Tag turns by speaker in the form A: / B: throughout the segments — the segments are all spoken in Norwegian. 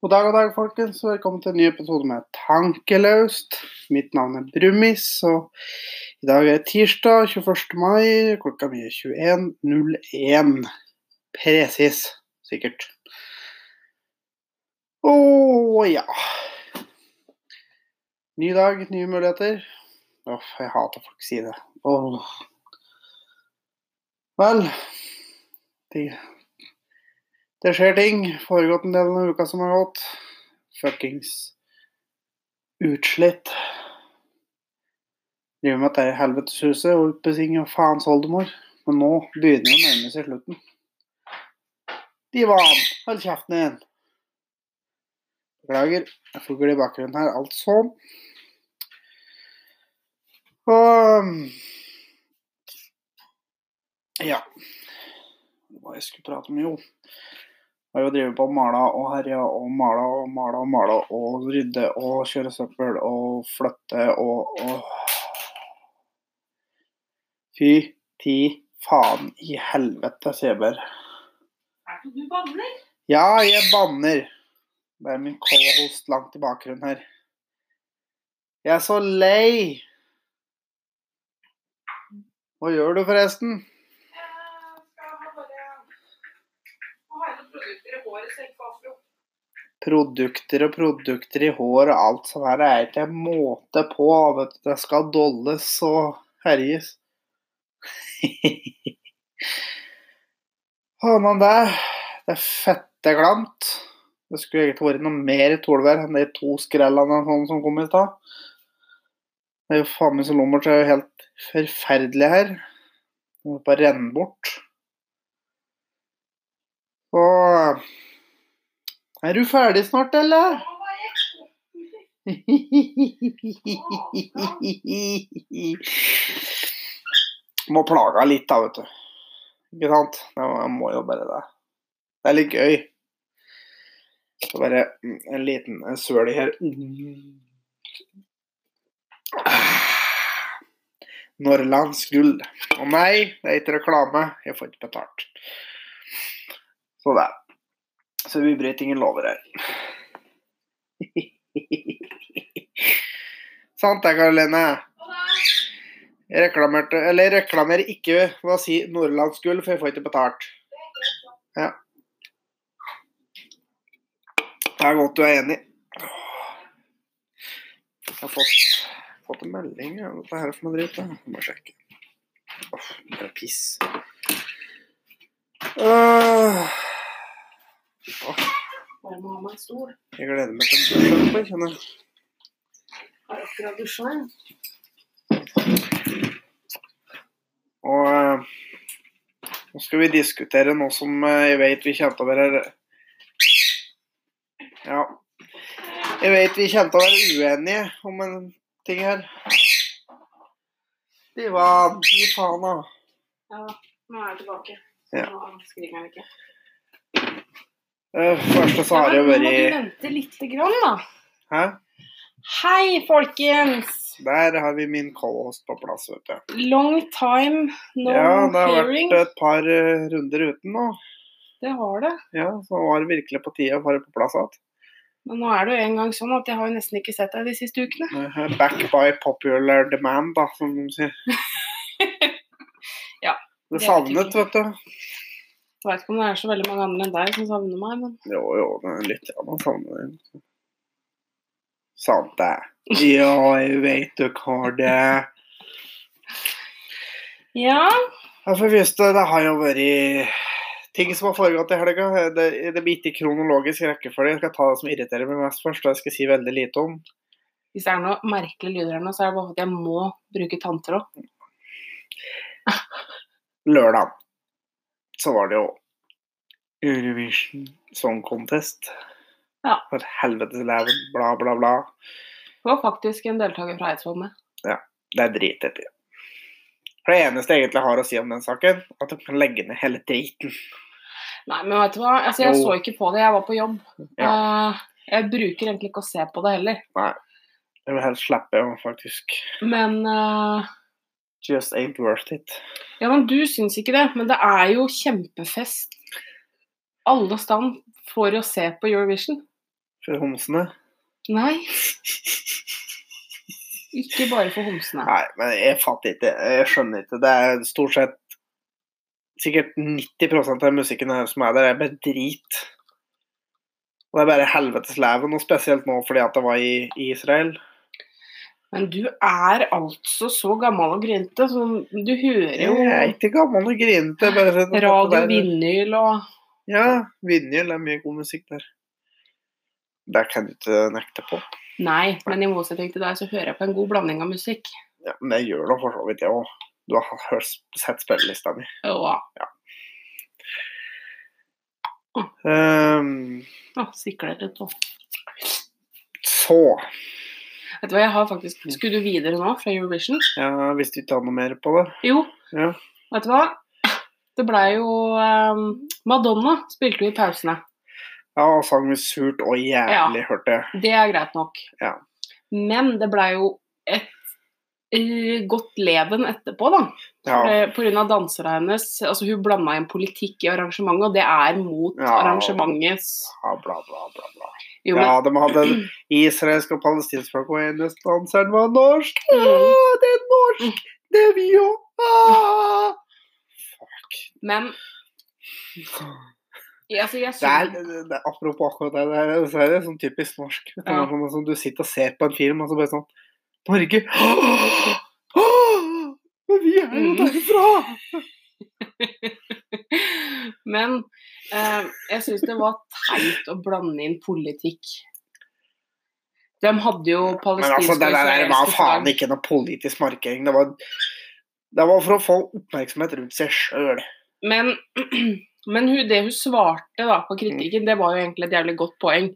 A: God dag og dag, folkens. og Velkommen til en ny episode med Tankelaust. Mitt navn er Brumis, og i dag er det tirsdag 21. mai. Klokka mi er 21.01. Presis, sikkert. Å ja. Ny dag, nye muligheter. Uff, jeg hater folk sier det. Åh. Vel de, det skjer ting. Foregått en del av uka som har gått. Fuckings utslitt. Driver med dette helveteshuset og oppesing og faens oldemor. Men nå begynner det å nærme seg slutten. Divan, hold kjeften din! Beklager. Jeg fugler i bakgrunnen her, altså. Og Ja. Hva jeg skulle prate om, jo. Jeg har jo drevet på og mala og herja og mala og mala og mala og rydde og kjøre søppel og flytte og, og Fy ti faen i helvete, sier jeg bare.
B: Er det du banner?
A: Ja, jeg banner. Det er min co-host langt i bakgrunnen her. Jeg er så lei. Hva gjør du forresten?
B: Jeg skal ha bare Nå har jeg noen produkter i håret, så jeg ikke afro.
A: produkter og produkter i hår og alt som er. Det er ikke en måte på. Vet du. Det skal dolles og herjes. Annet der, det er fetteglamt. Det skulle egentlig vært noe mer tolvær enn de to skrellene og sånn som kom i stad. Det er jo faen meg så lummert, så det er jo helt forferdelig her. Det må bare renne bort. Og er du ferdig snart, eller?
B: Nå var jeg
A: Må plage litt, da, vet du. Ikke sant? Det må- Jeg må jo bare det. Det er litt gøy. Så bare mm, en liten eh, søl her. Mm. Ah. Norrlands gull. Å nei, det er ikke reklame. Jeg får ikke betalt. Så det. Så vi bryter ingen lover her. Sant det, Karoline?
B: Å nei,
A: Jeg reklamerte, eller jeg reklamerer ikke ved å si Nordlands gull, for jeg får ikke betalt. Det er godt du er enig. Jeg har fått, fått en melding. Ja. Hva er det for noe dritt? da? Jeg må sjekke. Åh, bare piss. Åh. Åh,
B: Bare må ha meg en stol.
A: jeg gleder meg til en bursdag. bare kjenner jeg.
B: Har akkurat dusja, jeg.
A: Og eh, nå skal vi diskutere noe som eh, jeg vet vi kommer til å være Ja. Jeg vet vi kommer til å være uenige om en ting her. Divan, gi faen, da.
B: Ja, nå er jeg tilbake. Så
A: Ja.
B: Nå skriver jeg ikke.
A: Det Eh, første så har det jo
B: Nå må du
A: vært
B: vente lite grann, da.
A: Hæ?
B: Hei, folkens!
A: Der har vi min co-host på plass, vet du.
B: Long time no
A: ja, det har
B: hearing.
A: vært et par eh, runder uten nå.
B: Det har det.
A: Ja, Så var det virkelig på tide å få det på plass igjen.
B: Men nå er det jo en gang sånn at jeg har jo nesten ikke sett deg de siste ukene.
A: Eh, Back by popular demand, da, som de sier.
B: Ja,
A: Det
B: det er
A: savnet,
B: tydelig.
A: vet du.
B: Jeg vet ikke om det er så veldig mange andre enn deg som savner meg, men
A: Jo, jo, det er litt ja, man savner det. Sant det. Ja, jeg vet du har det.
B: Ja,
A: Ja, for visst, det har jo vært ting som har foregått i helga. Det, det blir ikke i kronologisk rekkefølge. Jeg skal ta det som irriterer meg mest først, og jeg skal si veldig lite om.
B: hvis det er noe merkelige lyder her nå, så er det bare at jeg må bruke tanntråd.
A: Lørdag så var det jo Eurovision Song Contest.
B: Ja.
A: For helvetes leven, bla, bla, bla.
B: Det var faktisk en deltaker fra Eidsvoll med.
A: Det er drit etter. For det eneste jeg egentlig har å si om den saken, at de kan legge ned hele driten.
B: Nei, men vet du hva? Altså, jeg
A: Jo.
B: så ikke på det, jeg var på jobb. Eh, jeg bruker egentlig ikke å se på det heller,
A: Jeg vil helst slippe å faktisk
B: men eh,
A: Just ain't worth it.
B: Ja, men du syns ikke det, men det er jo kjempefest. Alle stand får å se på Eurovision.
A: For homsene?
B: Nei. Ikke bare for homsene.
A: Nei, men jeg fatter ikke. Jeg skjønner ikke. Det er stort sett Sikkert 90 av musikken her som er der, er bare drit. Og det er bare helvetesleven, og spesielt nå fordi at det var i, i Israel.
B: Men du er altså så gammel og grinte, så du hører
A: Jeg
B: jo
A: er ikke gammel og grinete. bare sett at
B: radio,
A: det der-
B: vinyl og
A: Ja, vinyl er mye god musikk der. Det kan du ikke nekte på.
B: Nei, men i motsetning til deg så hører jeg på en god blanding av musikk.
A: Ja, men det gjør da for så vidt jeg òg. Du har hørt, sett spillelista mi.
B: Og
A: Ehm,
B: å, sikler litt òg.
A: så
B: Vet du hva, jeg har faktisk Skulle du videre nå fra Eurovision?
A: ja, Hvis du ikke har noe mer på det
B: Jo,
A: Ja.
B: vet du hva? Det blei jo ehm, Madonna spilte jo i pausene.
A: Ja, og sang med surt og jævlig, hørte jeg.
B: Det er greit nok.
A: Ja.
B: Men det blei jo et eh, godt leven etterpå, da.
A: Ja,
B: Eh, På grunn av dansere hennes. Altså, hun blanda inn politikk i arrangementet, og det er mot
A: Ja.
B: arrangementets
A: ja bla, bla, bla. bla.
B: Jo, men
A: Ja, de hadde en israelsk og palestinsk flagg, og eneste danseren var norsk.
B: Mm. Mm.
A: Ah, det er norsk! Det er vi jo! Ah!
B: Men Ja, altså, jeg
A: Det er,
B: synes,
A: det, det, apropos akkurat det, det er, så er det sånn typisk norsk. Det
B: Ja.
A: er sånn, som du sitter og ser på en film, og så bare sånn Norge! Ah! Ah! Men vi er jo
B: Mm.
A: derfra!
B: Men eh, jeg syns det var teit å blande inn politikk. De hadde jo
A: Men altså, det
B: palestinske
A: der, der var faen
B: flagg.
A: ikke noe politisk markering. Det var, det var for å få oppmerksomhet rundt seg sjøl.
B: Men, men hun, det hun svarte da, på kritikken, det var jo egentlig et jævlig godt poeng.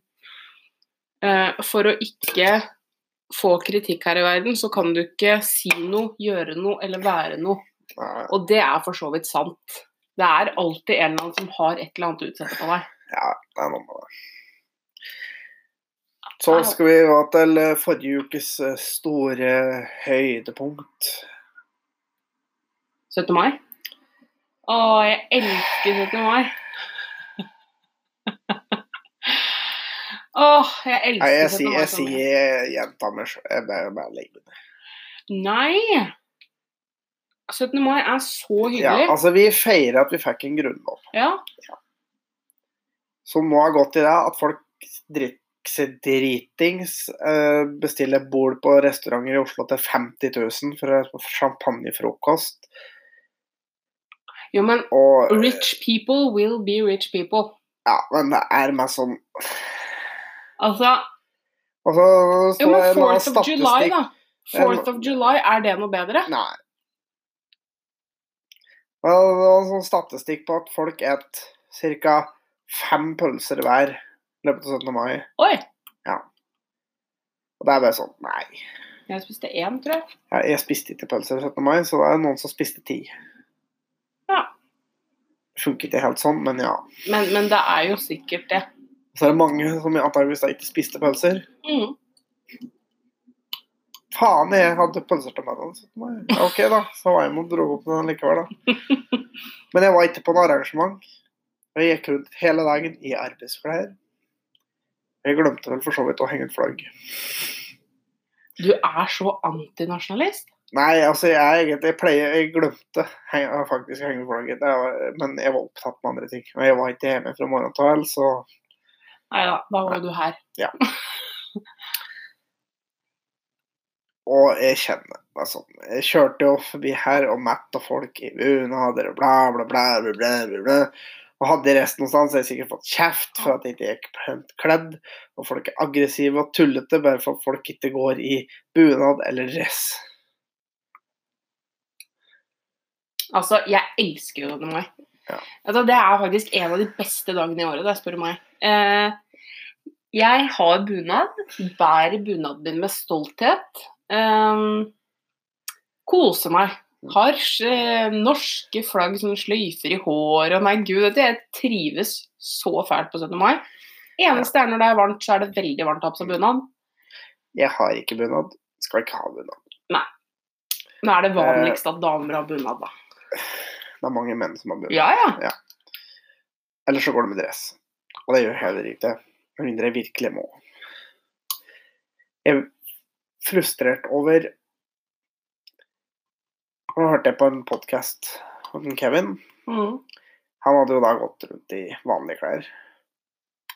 B: Eh, for å ikke få kritikk her i verden, så kan du ikke si noe, gjøre noe eller være noe. Og det er for så vidt sant. Det er alltid en eller annen som har et eller annet å utsette på deg.
A: Ja, det er noe med det.
B: Ah,
A: Så skal vi gå til eh, forrige ukes eh, store høydepunkt.
B: 17. mai? Å, jeg elsker 17. mai. Å, jeg
A: Nei, jeg
B: elsker
A: sier
B: 17. mai.
A: jeg
B: så mye.
A: sier jenta mi sjøl. Jeg bare, bare legger det.
B: Nei! 17. mai er så
A: Ja,
B: hyggelig.
A: altså, vi feirer at vi fikk en grunnlov,
B: Ja.
A: som nå har gått i det at folk drikker seg dritings, eh, bestiller bord på restauranter i Oslo til 50 000 for champagnefrokost.
B: Jo, men
A: Og eh,
B: rich people will be rich people.
A: Ja, men det er meg sånn
B: Altså
A: Og så
B: Jo,
A: står
B: men
A: det en annen
B: 4th of July,
A: statistikk
B: da. 4th of July, er det noe bedre?
A: Nei. Det var en sånn statistikk på at folk et ca. fem pølser hver i løpet av 17. mai.
B: Oi!
A: Og det er bare sånn Nei.
B: Jeg spiste én, tror jeg.
A: Jeg, jeg spiste ikke pølser 17. mai, så det er noen som spiste ti.
B: Ja.
A: Funker ikke helt sånn, men ja.
B: Men, men det er jo sikkert det.
A: Så er det mange som antageligvis da ikke spiste pølser.
B: Mm.
A: Faen, jeg hadde pølser til meg den 17. mai. Ja, Ok, da. Så var jeg med og dro opp den likevel, da. Men jeg var ikke på noe arrangement. Og Jeg gikk rundt hele dagen i arbeidsklær. Jeg glemte vel for så vidt å henge et flagg.
B: Du er så antinasjonalist.
A: Nei, altså, jeg er egentlig Jeg pleier Jeg glemte heng, faktisk å henge flagget, Det var- men jeg var opptatt med andre ting. Og jeg var ikke hjemme fra morgen til kveld, så
B: Nei da, da var jo du her.
A: Og jeg kjenner meg sånn. Jeg kjørte jo forbi her og metta folk i bunader og bla, bla, bla, bla, bla, bla, bla. Og hadde jeg reist noe sted, så hadde jeg sikkert fått kjeft for at jeg ikke gikk pent kledd. Og folk er aggressive og tullete bare for at folk ikke går i bunad eller dress.
B: Altså, jeg elsker jo 17. mai.
A: Ja.
B: Altså, det er faktisk en av de beste dagene i året, det spør du meg. Eh, jeg har bunad, bærer bunaden min med stolthet. Eh, koser meg. Har eh, norske flagg som sløyfer i håret. og Nei, gud, vet du, jeg trives så fælt på 17. mai. Eneste er når det er varmt, så er det veldig varmt å ha på seg bunad.
A: Jeg har ikke bunad. Skal ikke ha bunad.
B: Nå er det vanligst at damer har bunad, da.
A: Det er mange menn som har bunad.
B: Ja, ja.
A: Eller så går det med dress. Og det gjør heller ikke det. Med mindre jeg virkelig må. Jeg er frustrert over Nå hørte jeg på en podkast om Kevin.
B: Mm.
A: Han hadde jo da gått rundt i vanlige klær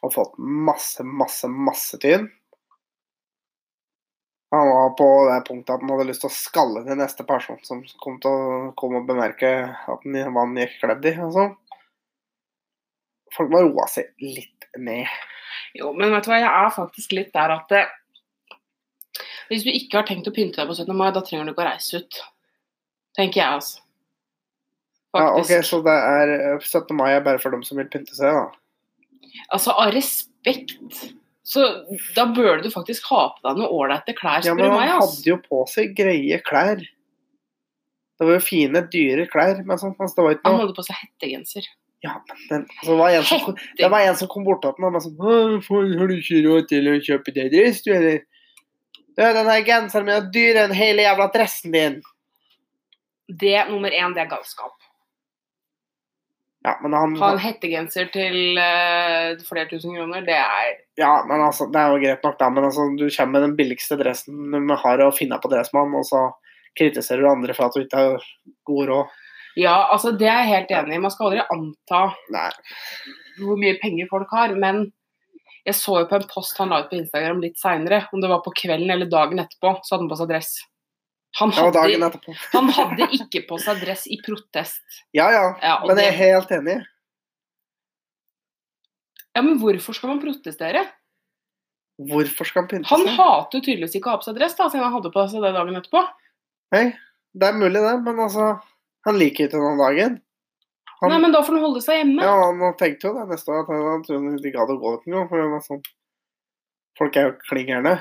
A: og fått masse, masse, masse tyn. Han var på det punktet at han hadde lyst til å skalle til neste person som kom til å komme og bemerke at han, hva han gikk kledd i. og sånn. Folk må roe seg litt ned.
B: Jo, men vet du hva, jeg er faktisk litt der at eh, hvis du ikke har tenkt å pynte deg på 17. mai, da trenger du ikke å reise ut. Tenker jeg, altså.
A: Ja, ok,
B: Faktisk.
A: Så det er eh, 17. mai er bare for dem som vil pynte seg, da.
B: Altså, av respekt. Så da bør du faktisk ha på deg noen ålreite klær,
A: Ja,
B: spør
A: Men
B: du
A: han
B: meg. Altså.
A: hadde jo på seg greie klær. Det var jo fine, dyre klær. Men sånn, altså, det var ikke
B: Han
A: noe
B: hadde på seg hettegenser.
A: Ja, men den, altså, det var en som Det var en som kom bort til meg og bare sånn «Åh, faen, Har du ikke råd til å kjøpe deg dress, du, eller? Du, den her genseren min er dyrere enn hele jævla dressen din.
B: Det nummer én, det er galskap.
A: Ja, men han
B: Ha en hettegenser til eh, flere tusen kroner, det er
A: Ja, men altså, det er jo greit nok, da, men altså, du kommer med den billigste dressen du har å finne på dressmann, og så kritiserer du andre for at du ikke har god råd.
B: Ja, altså det er jeg helt enig i. Man skal aldri anta
A: Nei.
B: hvor mye penger folk har. Men jeg så jo på en post han la ut på Instagram litt seinere, om det var på kvelden eller dagen etterpå, så hadde han på seg dress. Han
A: Det var dagen
B: hadde,
A: etterpå.
B: han hadde ikke på seg dress i protest.
A: Ja, ja.
B: Ja, og
A: Men jeg er
B: det-
A: helt enig.
B: ja, men hvorfor skal man protestere?
A: Hvorfor skal han pynte
B: Han
A: seg?
B: hater jo tydeligvis ikke å ha på seg dress, da, siden han hadde på seg det dagen etterpå.
A: Nei, det er mulig, det, men altså Han liker ikke den dagen. Han-
B: Nei, men da får han holde seg hjemme.
A: Ja, han tenkte jo det neste år, at han han trodde han ikke gadd å gå ut engang. For det var sånn Folk er jo klingerne.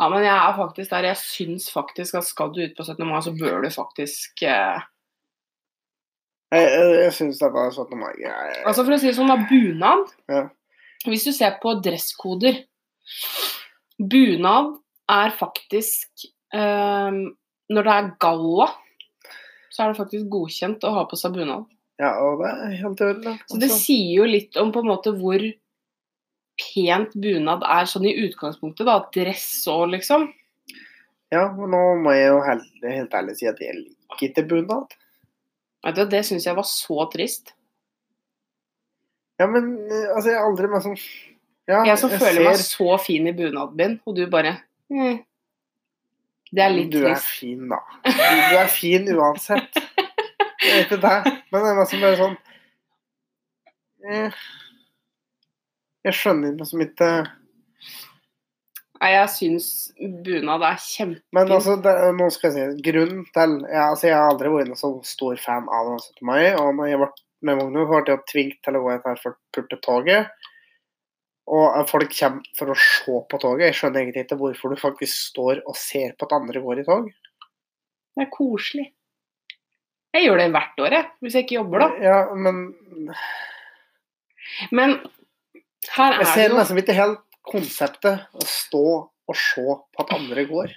B: Ja, men jeg er faktisk der. Jeg syns faktisk at skal du ut på 17. mai, så bør du faktisk eh,
A: Jeg, jeg, jeg syns dette er 17. mai. Jeg,
B: Altså For å si det sånn, da, bunad
A: Ja.
B: Hvis du ser på dresskoder Bunad er faktisk ehm, Når det er galla, så er det faktisk godkjent å ha på seg bunad.
A: ja, og det er helt i orden. da.
B: Så det
A: Altså,
B: sier jo litt om på en måte hvor pent bunad er sånn i utgangspunktet. da, Dress og liksom.
A: Ja, men nå må jeg jo helt, helt ærlig si at jeg liker ikke bunad.
B: Vet du, Det syns jeg var så trist.
A: Ja, men eh, altså, jeg er aldri med sånn ja,
B: Jeg som føler meg
A: ser-
B: så fin i bunaden min, og du bare eh. Det er litt
A: Du er
B: trist.
A: fin, da. Du er fin uansett. Jeg vet ikke det, men det er liksom bare sånn eh, Jeg skjønner liksom ikke
B: Nei, jeg syns bunad er kjempe...
A: Men
B: Fint.
A: altså, det, nå skal jeg si grunnen til ja, altså, Jeg har aldri vært noen så stor fan av den 17. mai. Og når jeg ble med Magnus, ble jeg tvunget til å gå etter for purtetoget. Og eh, folk kommer for å se på toget. Jeg skjønner egentlig ikke hvorfor du faktisk står og ser på at andre går i tog.
B: Det er koselig. Jeg gjør det hvert år, jeg, hvis jeg ikke jobber, da.
A: Ja, men
B: Men
A: jeg
B: her er det
A: ser altså.
B: jo
A: nesten ikke helt konseptet å stå og se på at andre går.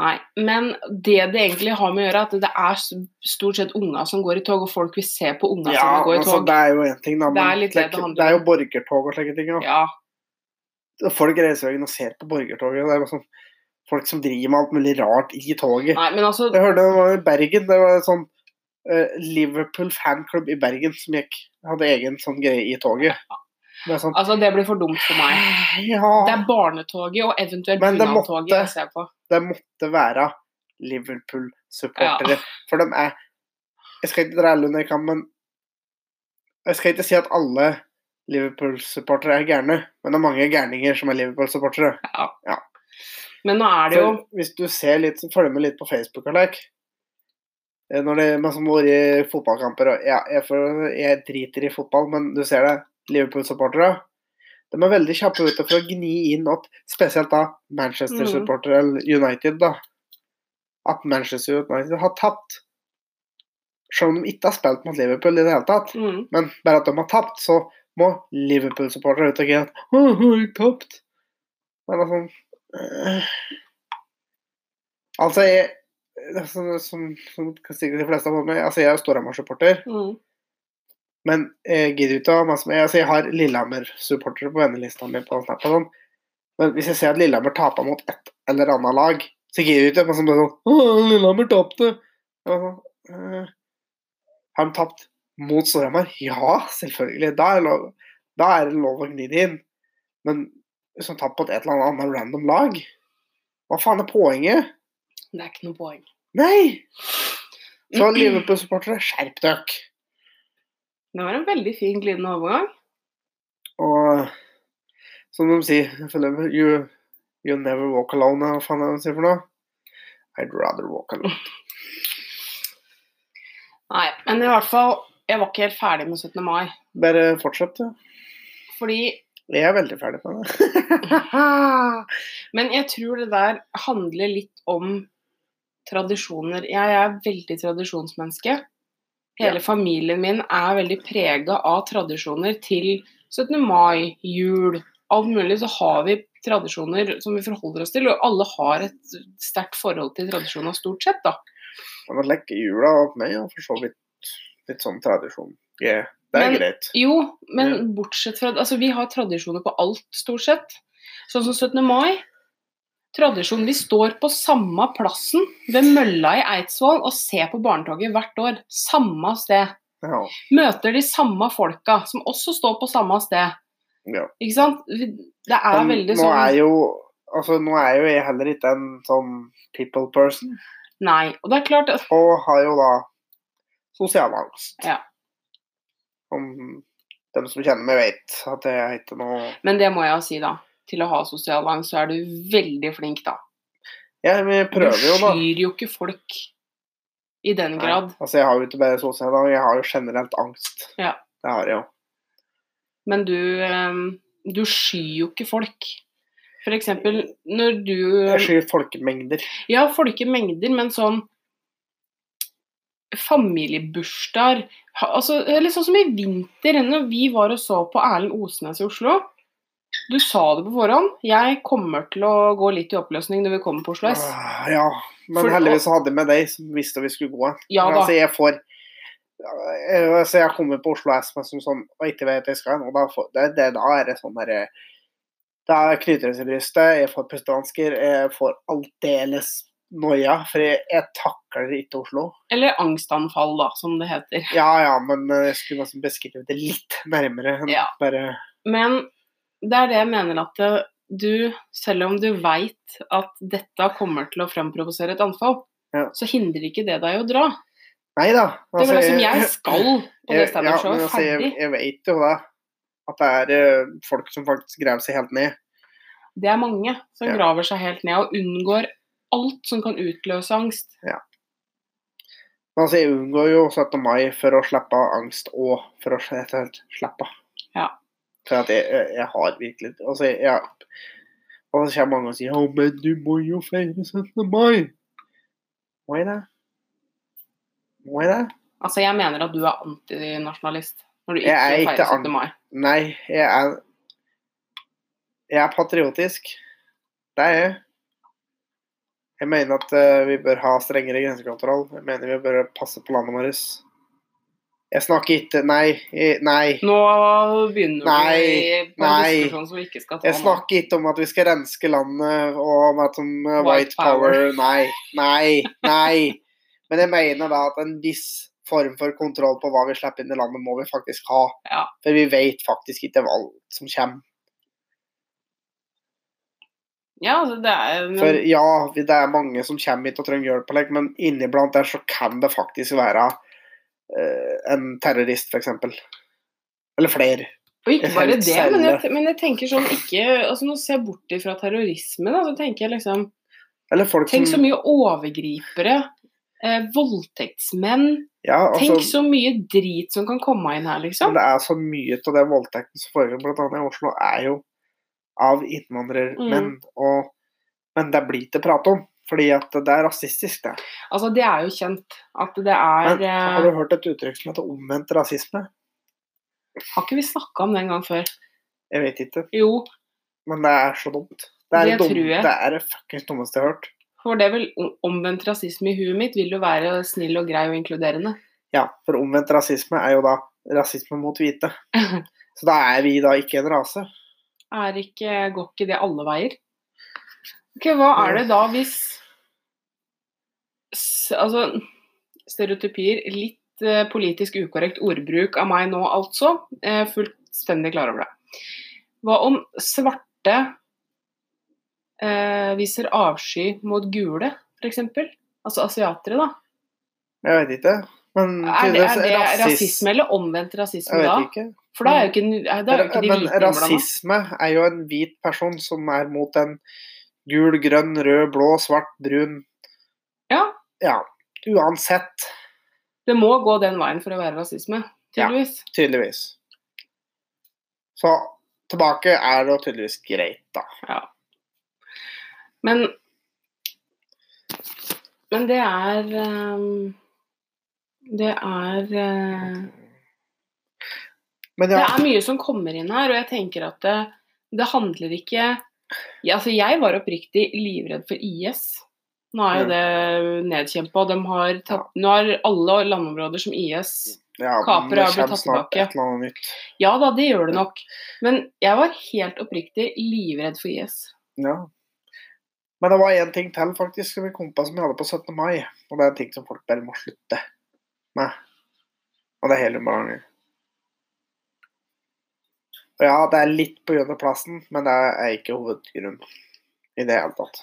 B: Nei, men det det egentlig har med å gjøre, er at det er s- stort sett unga som går i tog, og folk vil se på unga som går i
A: altså,
B: tog.
A: det er jo én ting, da.
B: Det
A: Men
B: er litt det det handler
A: det er jo borgertog og slike ting. Da.
B: Ja,
A: Folk reiser jo inn og ser på borgertoget. og Det er jo sånn folk som driver med alt mulig rart i toget.
B: nei, men altså
A: Jeg hørte det var i Bergen. Det var sånn eh, Liverpool fanklubb i Bergen som gikk, hadde egen sånn greie i toget. Det er sånn
B: Altså, det blir for dumt for meg. Det
A: Ja,
B: er barnetoget og eventuelt
A: Men det
B: bunadtoget
A: måtte-
B: jeg ser på.
A: det måtte være Liverpool-supportere. For de er Jeg skal ikke dra alle under en kam, men Jeg skal ikke si at alle Liverpool-supportere er gærne, men det er mange gærninger som er Liverpool-supportere.
B: Men nå er det jo
A: For Hvis du ser litt, følger med litt på Facebook og like, eh, når det man som har vært i fotballkamper og ja, jeg, får- jeg driter i fotball, men du ser det. Liverpool-supportere de er veldig kjappe ute for å gni inn at spesielt da Manchester-supportere eller United, da. At Manchester United har tapt. Selv om de ikke har spilt mot Liverpool i det hele tatt.
B: mm,
A: Men bare at de har tapt, så må Liverpool-supportere ut og greie at «Å, har de tapt? Det er bare sånn øh. Altså, jeg det er sånn- som, som sikkert de fleste har fått med, altså jeg er jo Storhamar-supporter,
B: mm.
A: Men jeg gidder ikke å ha masse med altså, Jeg har Lillehammer-supportere på vennelista mi på Snap og sånn. Men hvis jeg ser at Lillehammer taper mot et eller annet lag, så gidder jeg ikke å masse med sånn «Åh, Lillehammer tapte! Jeg var sånn, «Eh, Har de tapt mot Storhamar? Ja, selvfølgelig. Da er, det lov, da er det lov å gni det inn. Men hvis de taper mot et eller annet annet random lag, hva faen er poenget?
B: Det er ikke noe poeng.
A: Nei! Så Liverpool-supportere, skjerp dere!
B: Det var en veldig fin glidende overgang.
A: Og som de sier, jeg føler meg, you, you never walk alone, hva faen er det de sier for noe? I'd rather walk alone.
B: Nei, men i hvert fall, jeg var ikke helt ferdig med 17. mai.
A: Bare fortsett, du.
B: Fordi
A: Jeg er veldig ferdig med det.
B: Men jeg tror det der handler litt om tradisjoner. Jeg er veldig tradisjonsmenneske. Hele
A: Ja.
B: familien min er veldig prega av tradisjoner til 17. mai, jul, alt mulig. Så har vi tradisjoner som vi forholder oss til, og alle har et sterkt forhold til tradisjoner stort sett, da.
A: Men å lekke jula opp meg, og for så vidt litt sånn tradisjon. Ja, Det er
B: Men-
A: greit.
B: Jo, men
A: Ja.
B: bortsett fra Altså, vi har tradisjoner på alt, stort sett. Sånn som 17. mai. Tradisjon. Vi står på samme plassen ved mølla i Eidsvoll og ser på barnetoget hvert år. Samme sted.
A: Ja.
B: Møter de samme folka, som også står på samme sted.
A: Ja.
B: Ikke sant? Vi- Det er
A: Men
B: veldig
A: nå
B: sånn
A: er jo Altså, nå er jo jeg heller ikke en sånn people person,
B: Nei. Og det er klart at
A: og har jo da sosial angst.
B: Ja.
A: Om dem som kjenner meg, vet at jeg er ikke noe
B: Men det må jeg jo si, da. Til å ha sosial angst, så er du veldig flink, da.
A: Ja, men jeg prøver jo, da.
B: Du skyr jo ikke folk i den
A: Nei,
B: grad.
A: altså, jeg har jo ikke bare sosial angst, jeg har jo generelt angst.
B: Ja.
A: Det har jeg jo.
B: Men du, ehm, du skyr jo ikke folk. For eksempel når du
A: Jeg skyr folkemengder.
B: Ja, folkemengder, men sånn Familiebursdager ha- altså, Eller sånn som i vinter, når vi var og så på Erlend Osnes i Oslo. Du sa det på forhånd. Jeg kommer til å gå litt i oppløsning når vi kommer på Oslo S.
A: Ah, Ja, men
B: For-
A: heldigvis så hadde jeg med deg som visste vi skulle gå.
B: Ja
A: Men
B: da.
A: Altså, jeg får Ja, altså, Jeg kommer på Oslo S men som sånn og ikke vet jeg skal hen, og da, får, det, det, da er det sånn derre Da knyter det seg i brystet, jeg får pustevansker, jeg får aldeles noia, for jeg, jeg takler ikke Oslo.
B: Eller angstanfall, da, som det heter.
A: Ja ja, men eh, jeg skulle nesten beskrevet det litt nærmere. enn
B: Ja.
A: Bare
B: Men det er det jeg mener at eh, du, selv om du veit at dette kommer til å fremprovosere et anfall,
A: Ja.
B: så hindrer ikke det deg å dra.
A: Nei da.
B: Det var
A: altså,
B: det som jeg skal på det
A: Jeg- ja, men
B: standup-showet.
A: altså, jeg,
B: Ferdig.
A: jeg vet jo det. At det er eh, folk som faktisk graver seg helt ned.
B: Det er mange som
A: Ja.
B: graver seg helt ned og unngår alt som kan utløse angst.
A: Men altså, jeg unngår jo 17. mai for å slippe av angst og for å rett og slett slappe av.
B: Ja.
A: For at jeg, jeg, jeg har virkelig Altså, jeg, jeg Og så kommer mange og sier 'Å, men du må jo feire 17. mai'. Må jeg det? Må jeg det?
B: Altså, jeg mener at du er antinasjonalist når du
A: Jeg
B: ikke
A: er ikke
B: feirer
A: an-
B: 17. mai.
A: Nei, jeg er Jeg er patriotisk. Det er jeg. Jeg mener at eh, vi bør ha strengere grensekontroll. Jeg mener vi bør passe på landet vårt. Jeg snakker ikke Nei. jeg- Nei.
B: Nå begynner
A: Nei,
B: vi på en
A: nei.
B: diskusjon som vi ikke skal ta
A: Jeg
B: nå.
A: snakker ikke om at vi skal renske landet og om at om eh,
B: White
A: white power Nei. Nei. Nei. Men jeg mener da at en viss form for kontroll på hva vi slipper inn i landet, må vi faktisk ha.
B: Ja.
A: For vi vet faktisk ikke hva som kommer.
B: Ja, altså, det er men,
A: For ja, vi- det er mange som kommer hit og trenger hjelp, og lik, men inniblant der så kan det faktisk være eh, en terrorist, f.eks. Eller flere.
B: Og ikke
A: Jeg
B: bare
A: helt
B: det, men jeg,
A: selger.
B: men jeg tenker sånn ikke altså Nå ser jeg bort ifra terrorisme, da, så tenker jeg liksom
A: Eller folk
B: Tenk så
A: som
B: mye overgripere, eh, voldtektsmenn
A: ja, altså,
B: Tenk så mye drit som kan komme inn her,
A: men
B: liksom.
A: Det er så mye av den voldtekten som foregår bl.a. i Oslo, er jo av
B: Mm.
A: innvandrermenn. Og, men det blir ikke prat om, fordi at det er rasistisk, det.
B: Altså, det er jo kjent at det er
A: Men har du
B: eh,
A: hørt et uttrykk som heter omvendt rasisme?
B: Har ikke vi snakka om det en gang før?
A: Jeg vet ikke,
B: Jo,
A: men det er så dumt. Det er
B: Det
A: det, dumt,
B: tror jeg.
A: det, er det fuckings dummeste jeg har hørt.
B: for det er vel omvendt rasisme i huet mitt vil jo være snill og grei og inkluderende.
A: Ja, for omvendt rasisme er jo da rasisme mot hvite. Så da er vi da ikke en rase.
B: Er ikke, går ikke det alle veier? Ok, hva er det da hvis s- Altså, stereotypier Litt eh, politisk ukorrekt ordbruk av meg nå, altså. Jeg er fullstendig klar over det. Hva om svarte eh, viser avsky mot gule, f.eks.? Altså asiatere, da.
A: Jeg vet ikke. Men
B: Er det, er det
A: tydeligvis rasist-
B: rasisme eller omvendt rasisme
A: Jeg
B: da?
A: vet ikke.
B: For da er jo ikke, da er jo ikke de
A: Men
B: hvite innblanda.
A: rasisme er jo en hvit person som er mot en gul, grønn, rød, blå, svart, brun
B: Ja.
A: Ja. Uansett,
B: Det må gå den veien for å være rasisme,
A: Ja.
B: tydeligvis.
A: tydeligvis. Så tilbake er det jo tydeligvis greit, da.
B: Men Men det er ehm, Det er eh,
A: Men
B: Det
A: ja,
B: er mye som kommer inn her, og jeg tenker at det, det handler ikke ja, altså Jeg var oppriktig livredd for IS. Nå er jo
A: Mm.
B: det nedkjempa. De har tatt, nå har alle landområder som IS
A: ja men det
B: kapere har blitt
A: kommer
B: tatt
A: snart
B: tilbake.
A: et eller annet nytt.
B: Ja da, det gjør det nok. Men jeg var helt oppriktig livredd for IS.
A: Ja. Men det var én ting til faktisk som vi kom på som vi hadde på 17. mai. Og det er en ting som folk bare må slutte med. Og det er heliumballonger. Og ja, det er litt på grunn av plassen, men det er ikke hovedgrunnen i det hele tatt.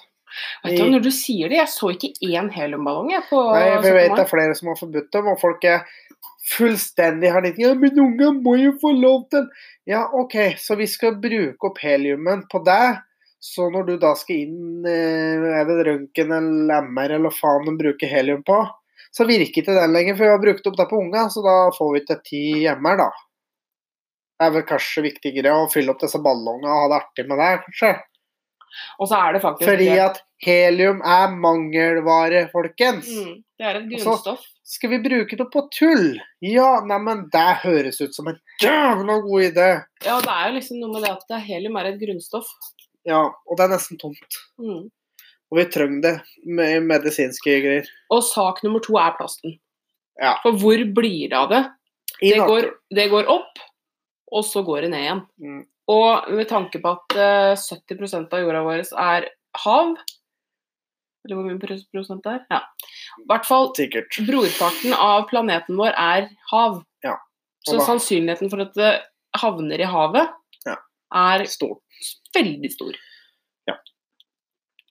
B: Vet du, hva, Når du sier det, jeg så ikke én heliumballong jeg på
A: Nei, for
B: 17.
A: jeg vet det
B: mai.
A: er flere som har forbudt dem, og folk er fullstendig har litt, Ja, men unge må jo få lov til Ja, OK, så vi skal bruke opp heliumen på deg. Så når du da skal inn eh, er det røntgen eller MR eller hva faen de bruker helium på, så virker ikke den lenger, for vi har brukt opp det på unga, så da får vi ikke ti MR, da. Det er vel kanskje viktigere å fylle opp disse ballongene og ha det artig med det, kanskje.
B: Og så er det faktisk
A: Fordi
B: det.
A: at helium er mangelvare, folkens.
B: Mm, det er et
A: Og så-
B: grunnstoff.
A: Skal vi bruke det på tull? Ja, neimen, det høres ut som en jævla god idé.
B: Ja, det er jo liksom noe med det at det er helium er et grunnstoff.
A: Ja, og det er nesten tomt.
B: Mm.
A: Og vi trenger det med medisinske greier.
B: Og sak nummer to er plasten.
A: Ja.
B: For hvor blir det av det?
A: I
B: Det går,
A: naturen.
B: det går opp, og så går det ned igjen.
A: Mm.
B: Og med tanke på at eh, 70 av jorda vår er hav Eller hvor mye pros- prosent det er? Ja. I hvert fall
A: Sikkert.
B: brorparten av planeten vår er hav.
A: Ja.
B: Så
A: Og da-
B: sannsynligheten for at det havner i havet,
A: Ja.
B: er
A: Stort.
B: s- veldig stor.
A: Ja.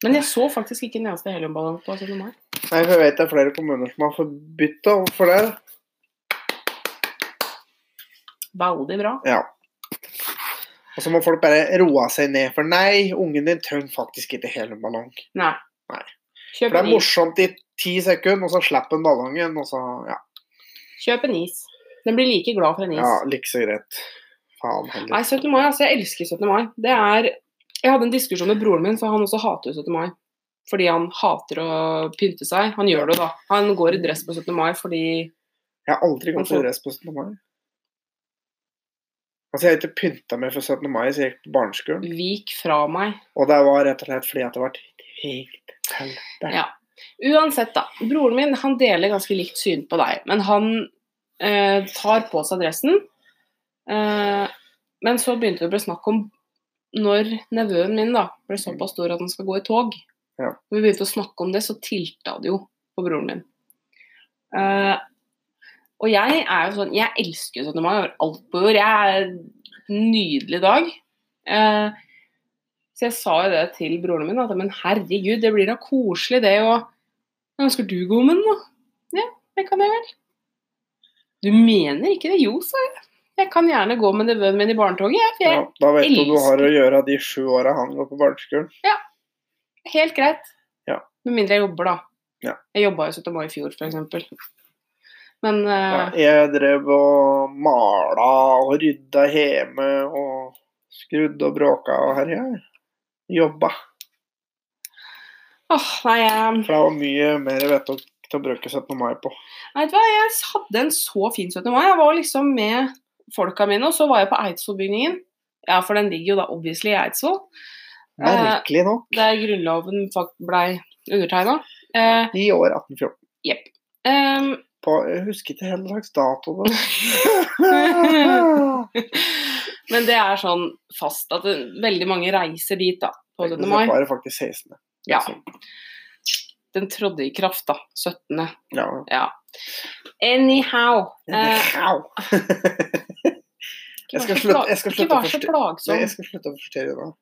B: Men jeg så faktisk ikke en eneste heliumballong på 17. mai.
A: Nei, for jeg vet det er flere kommuner som har forbudt det overfor det.
B: Veldig bra.
A: Ja. Og så må folk bare roe seg ned, for nei, ungen din trenger faktisk ikke hele ballong.
B: Nei.
A: Nei. For
B: Kjøp
A: det
B: en
A: er
B: is.
A: morsomt i ti sekunder, og så slipper en ballongen, og så Ja,
B: Kjøp en is. Den blir like glad for en is.
A: ja like så greit. Faen heller.
B: Nei, 17. mai, altså, jeg elsker 17. mai. Det er Jeg hadde en diskusjon med broren min, for han også hater jo 17. mai. Fordi han hater å pynte seg. Han gjør det, da. Han går i dress på 17. mai fordi
A: Jeg har aldri gått
B: Hvorfor?
A: til dress på 17. mai. Altså, jeg har ikke pynta meg for 17. mai siden jeg gikk på barneskolen.
B: Vik fra meg.
A: Og det var rett og slett fordi at det var helt helvete.
B: Ja. Uansett, da. Broren min han deler ganske likt syn på deg, men han eh, tar på seg dressen. Eh, men så begynte det å bli snakk om når nevøen min da ble såpass stor at han skal gå i tog.
A: Ja.
B: Når vi begynte å snakke om det, så tilta det jo på broren min. Eh, og jeg er jo sånn Jeg elsker jo 17. mai over alt på jord. Jeg er en nydelig dag. Eh, så jeg sa jo det til broren min, at men herregud, det blir da koselig det å «Ja, Skal du gå med den, da? Ja, det kan jeg vel. Du mener ikke det? Jo, sa jeg. Jeg kan gjerne gå med nevøen min i barnetoget, jeg, for jeg
A: Ja, da vet du hva du har å
B: elsker-
A: gjøre de sju åra han går på barneskolen.
B: Helt greit.
A: Ja.
B: Med mindre jeg jobber, da.
A: Ja.
B: Jeg jobba jo 17. mai i fjor, f.eks. Men
A: Ja,
B: eh,
A: jeg drev og mala og rydda hjemme og skrudde og bråka og herja. Jobba.
B: åh, nei, jeg,
A: For det var mye mer vettet til å bruke 17. mai på.
B: nei, vet du hva, jeg hadde en så fin 17. mai. Jeg var liksom med folka mine, og så var jeg på Eidsvollbygningen. Ja, for den ligger jo da obviously i Eidsvoll,
A: Merkelig nok.
B: der Grunnloven fak- blei undertegna. Eh,
A: I år 1814.
B: Ehm,
A: på Jeg husker ikke helt slags dato det var.
B: Men det er sånn fast at det, veldig mange reiser dit da, på
A: Det
B: 17. mai.
A: var faktisk 16.
B: Ja. Den trådte i kraft da, 17.
A: Ja.
B: Ja. Anyhow. Eh,
A: Au. Jeg skal
B: ikke
A: slutte-
B: vær så
A: jeg skal
B: pla-
A: slutte å
B: Ikke vær så
A: forstyrre. Nei,
B: plagsom.
A: jeg skal slutte å forstyrre deg.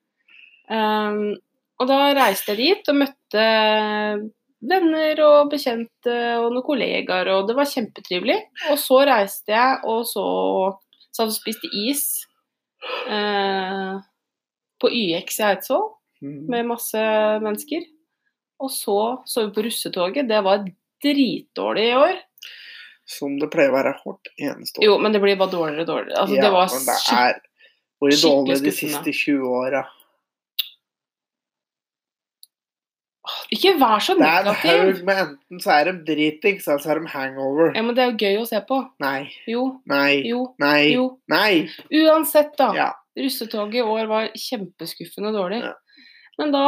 B: Ehm, og da reiste jeg dit og møtte eh, venner og bekjente og noen kollegaer, og det var kjempetrivelig. Og så reiste jeg, og så satt og spiste is eh, på YX i Eidsvoll
A: Mm.
B: med masse mennesker. Og så så vi på russetoget. Det var dritdårlig i år.
A: Som det pleier å være hvert eneste år.
B: Jo, men det blir bare dårligere og dårligere. Altså, det var
A: men det
B: skikkelig
A: er vært dårlig de
B: skikkelig skuffende.
A: siste 20 åra.
B: Ikke vær så
A: Det er en
B: negativ!
A: haug med enten så er de dritings, eller så er de hangover.
B: Ja, men det er jo gøy å se på.
A: Nei,
B: Jo,
A: nei,
B: jo,
A: nei,
B: jo.
A: nei.
B: Uansett, da.
A: Ja.
B: Russetoget i år var kjempeskuffende dårlig.
A: Ja.
B: Men da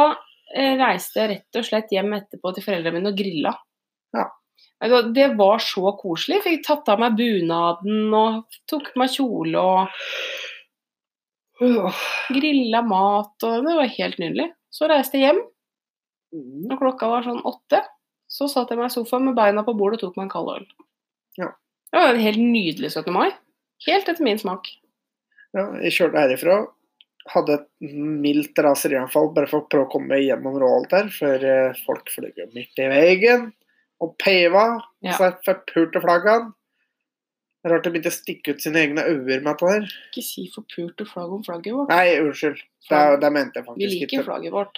B: eh, reiste jeg rett og slett hjem etterpå til foreldrene mine og grilla.
A: Ja.
B: Vet du hva, Det var så koselig. Fikk tatt av meg bunaden og tok på meg kjole og grilla mat og Det var helt nydelig. Så reiste jeg hjem,
A: Mm.
B: og klokka var sånn åtte. Så satt jeg meg i sofaen med beina på bordet og tok meg en kald øl.
A: Ja.
B: Det var en helt nydelig 17. mai. Helt etter min smak.
A: Ja, jeg kjørte herifra. Hadde et mildt raserianfall bare for å prøve å komme meg gjennom Råholt der, før eh, folk fløy midt i veien og peiva.
B: Ja.
A: Så jeg forpulte flaggene. Rart de begynte å stikke ut sine egne øyne med dette der.
B: Ikke si forpurte flagg om flagget vårt.
A: Nei, unnskyld. Det, det mente jeg
B: Vi
A: faktisk
B: liker
A: ikke.
B: flagget vårt.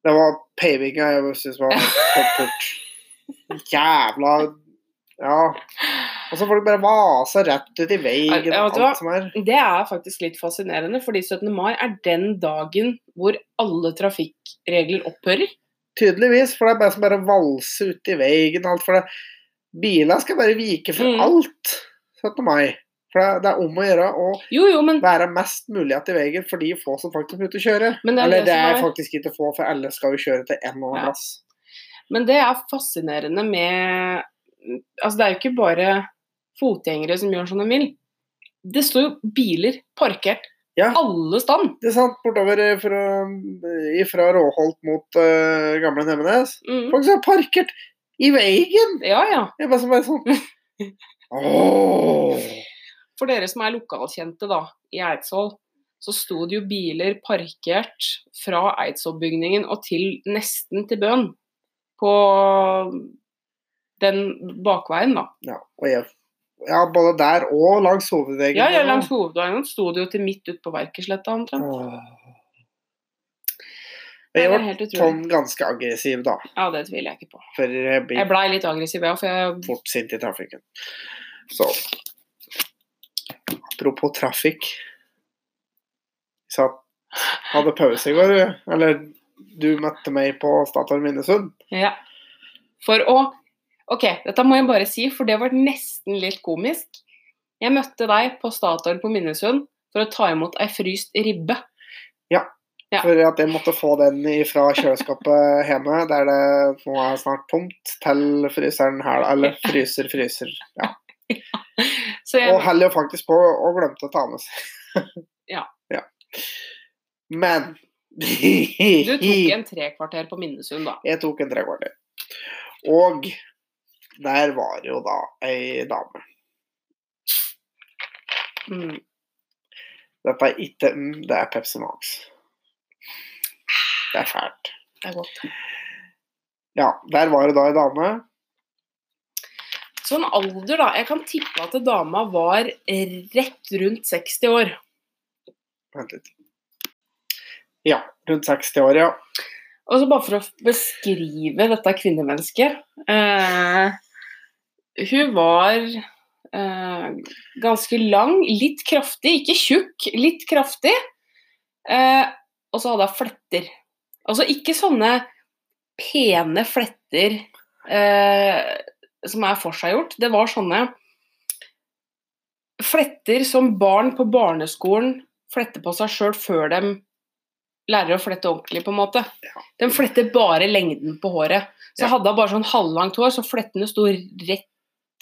A: Det var peivinga jeg syntes var forpult. Jævla Ja. Og så folk bare vasa rett ut i
B: Nei,
A: veien
B: ja, vet
A: og
B: du hva?
A: alt som er.
B: Det er faktisk litt fascinerende, fordi 17. mai er den dagen hvor alle trafikkregler opphører.
A: Tydeligvis, for det er bare som bare å valse ut i veien og alt, for det. Biler skal bare vike for
B: Mm.
A: alt 17. mai. For det, det er om å gjøre å
B: Jo, jo, men
A: være mest mulig igjen i veien for de få som faktisk er ute og kjøre.
B: Men det er
A: Eller
B: det
A: det
B: som
A: er
B: er-
A: faktisk ikke få, for alle skal jo kjøre til en eller annen
B: Ja.
A: plass.
B: Men det er fascinerende med Altså, det er jo ikke bare fotgjengere som gjør som de vil. Det står jo biler parkert
A: Ja.
B: alle stand.
A: Det er sant, bortover eh, fra, fra Råholt mot eh, gamle Nemenes.
B: Mm.
A: Folk som er parkert i veien!
B: Ja, ja.
A: Jeg er bare som bare sånn Åh.
B: For dere som er lokalkjente da, i Eidsvoll, så sto det jo biler parkert fra Eidsvollbygningen og til nesten til Bøen. På den bakveien, da.
A: Ja, og jeg, ja, både der og langs hovedveien.
B: Ja, ja, langs hovedveien sto det jo til midt ut på Verkesletta omtrent.
A: Åh. Jeg
B: Nei, det er
A: ble
B: helt utrolig.
A: sånn ganske aggressiv, da.
B: Ja, det tviler jeg ikke på.
A: For jeg
B: Jeg
A: blir
B: blei litt aggressiv, ja, for jeg
A: fort sint i trafikken. Så Apropos trafikk. Jeg satt, hadde pause i går, eller du møtte meg på Statoil Minnesund.
B: Ja. For å Ok, dette må jeg bare si, for det var nesten litt komisk. Jeg møtte deg på Statoil på Minnesund for å ta imot ei fryst ribbe. Ja.
A: For at jeg måtte få den fra kjøleskapet hjemme, der det nå er snart tomt, til fryseren her, eller fryser, fryser. Ja.
B: Så jeg,
A: Og heller jo faktisk på og glemte å ta med seg.
B: Ja.
A: Men
B: Du tok en trekvarter på Minnesund, da.
A: Jeg tok en trekvarter. Og der var jo da ei dame.
B: Mm.
A: Dette er ikke mm, Det er Pepsi Max. Det er fælt.
B: Det er godt.
A: Ja, der var det da ei dame.
B: Sånn alder, da. Jeg kan tippe at dama var rett rundt 60 år.
A: Vent litt. Ja, rundt 60 år, ja.
B: Og så bare for å beskrive dette kvinnemennesket eh, Hun var eh, ganske lang, litt kraftig, ikke tjukk, litt kraftig. Eh, og så hadde hun fletter. Altså ikke sånne pene fletter eh, som er forseggjort. Det var sånne fletter som barn på barneskolen fletter på seg sjøl før de lærer å flette ordentlig, på en måte. Den fletter bare lengden på håret. Så
A: Ja.
B: hadde hun bare sånn halvlangt hår, så flettene sto rett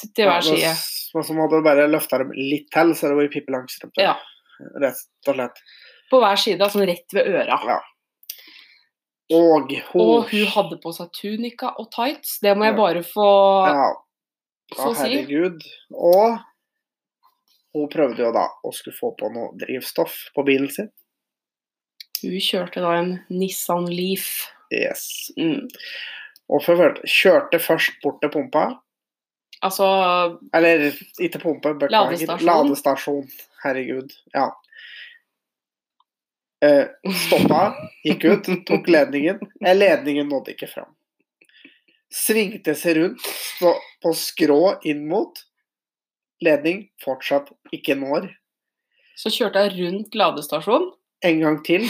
B: til, til hver
A: Ja,
B: side.
A: det s- men som hadde bare løfta dem litt til, så hadde det vært Pippi Langstrømpe.
B: Ja.
A: Rett og slett.
B: På hver side, altså rett ved øra.
A: Ja. Og hun,
B: Og hun hadde på seg tunika og tights. Det må jeg
A: Ja.
B: bare få,
A: ja,
B: få
A: å,
B: si.
A: herregud. Og hun prøvde jo da å skulle få på noe drivstoff på bilen sin.
B: Hun kjørte da en Nissan Leaf.
A: Yes.
B: Mm.
A: Og forført- kjørte først bort til pumpa.
B: Altså
A: Eller ikke pumpe, beklager.
B: Ladestasjon.
A: Ladestasjon. Herregud. Ja. Eh, stoppa, gikk ut, tok ledningen. Eh, ledningen nådde ikke fram. Svingte seg rundt så på skrå inn mot. Ledning fortsatt ikke når.
B: Så kjørte jeg rundt ladestasjonen.
A: En gang til.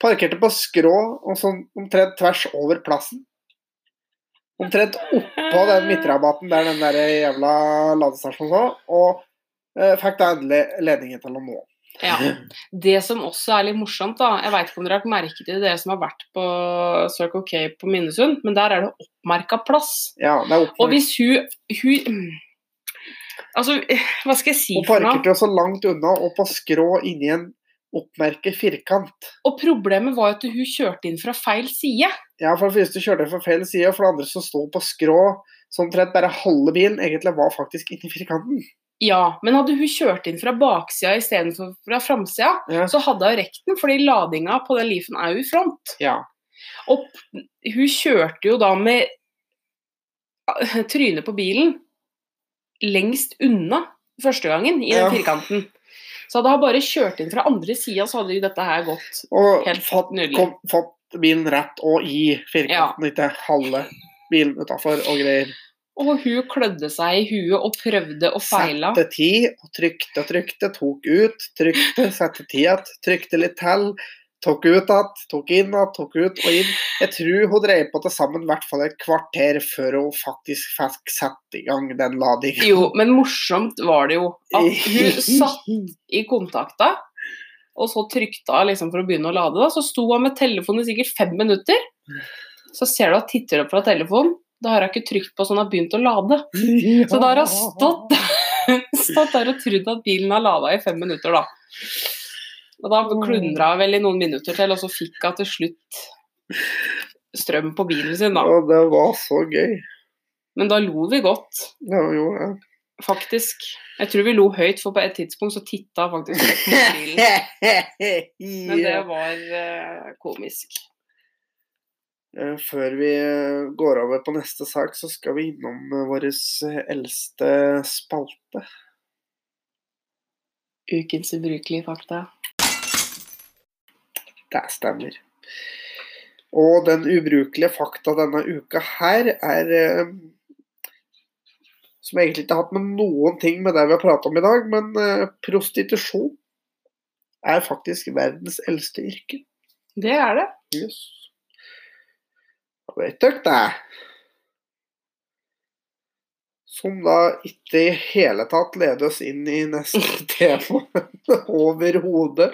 A: Parkerte på skrå og sånn omtrent tvers over plassen. Omtrent på den midtrabatten der den der jævla ladestasjonen var, og eh, fikk da endelig ledningen til å nå.
B: Ja. Det som også er litt morsomt, da Jeg veit ikke om dere har lagt merke til det, dere som har vært på Circle K på Minnesund, men der er det oppmerka plass.
A: Ja, det er
B: Og
A: oppmerk-
B: hvis hun, hun Altså, hva skal jeg si
A: Hun
B: for
A: parkerte jo
B: noe?
A: så langt unna og på skrå inni en oppmerket firkant.
B: Og problemet var jo at hun kjørte inn fra feil side.
A: Ja, for det første kjørte jeg for feil side, og for det andre så sto hun på skrå så omtrent bare halve bilen egentlig var faktisk inni firkanten.
B: Ja, men hadde hun kjørt inn fra baksida istedenfor fra framsida,
A: Ja.
B: så hadde hun rekt den, fordi ladinga på den Leafen er jo i front.
A: ja.
B: Og p- hun kjørte jo da med eh, trynet på bilen lengst unna første gangen i den
A: Ja.
B: firkanten. Så hadde hun bare kjørt inn fra andre sida, så hadde jo dette her gått
A: Og
B: Helt
A: fått,
B: nydelig.
A: kom, fått bilen rett og i firkanten, ikke halve bilen utafor og greier.
B: Og hun klødde seg i huet og prøvde og feila.
A: Sette ti, og trykte og trykte, tok ut, trykte, sette ti igjen, trykte litt til. Tok ut igjen, tok inn igjen, tok ut og inn. Jeg tror hun drev på til sammen i hvert fall et kvarter før hun faktisk fikk satt i gang den ladingen.
B: Jo, men morsomt var det jo at hun satt i kontakta, og så trykte hun liksom for å begynne å lade. Da. Så sto hun med telefonen i sikkert fem minutter. Så ser du at hun titter opp fra telefonen. Da har hun ikke trykt på så hun har begynt å lade. Så da har hun stått der, stått der og trodd at bilen har lada i fem minutter, da. Og da klundra hun vel i noen minutter til, og så fikk hun til slutt strøm på bilen sin, da.
A: Og det var så gøy.
B: Men da lo vi godt,
A: Ja, jo, ja.
B: faktisk. Jeg tror vi lo høyt, for på et tidspunkt så titta jeg faktisk rett mot bilen. Men det var eh, komisk.
A: Eh, Før vi eh, går over på neste sak, så skal vi innom eh, vår eldste spalte.
B: Ukens ubrukelige fakta.
A: Det stemmer. Og den ubrukelige fakta denne uka her er eh, Som egentlig ikke har hatt med noen ting med det vi har prata om i dag, men eh, prostitusjon er faktisk verdens eldste yrke.
B: Det er det.
A: Yes. Jeg vet dere det? Som da ikke i hele tatt leder oss inn i neste tema overhodet.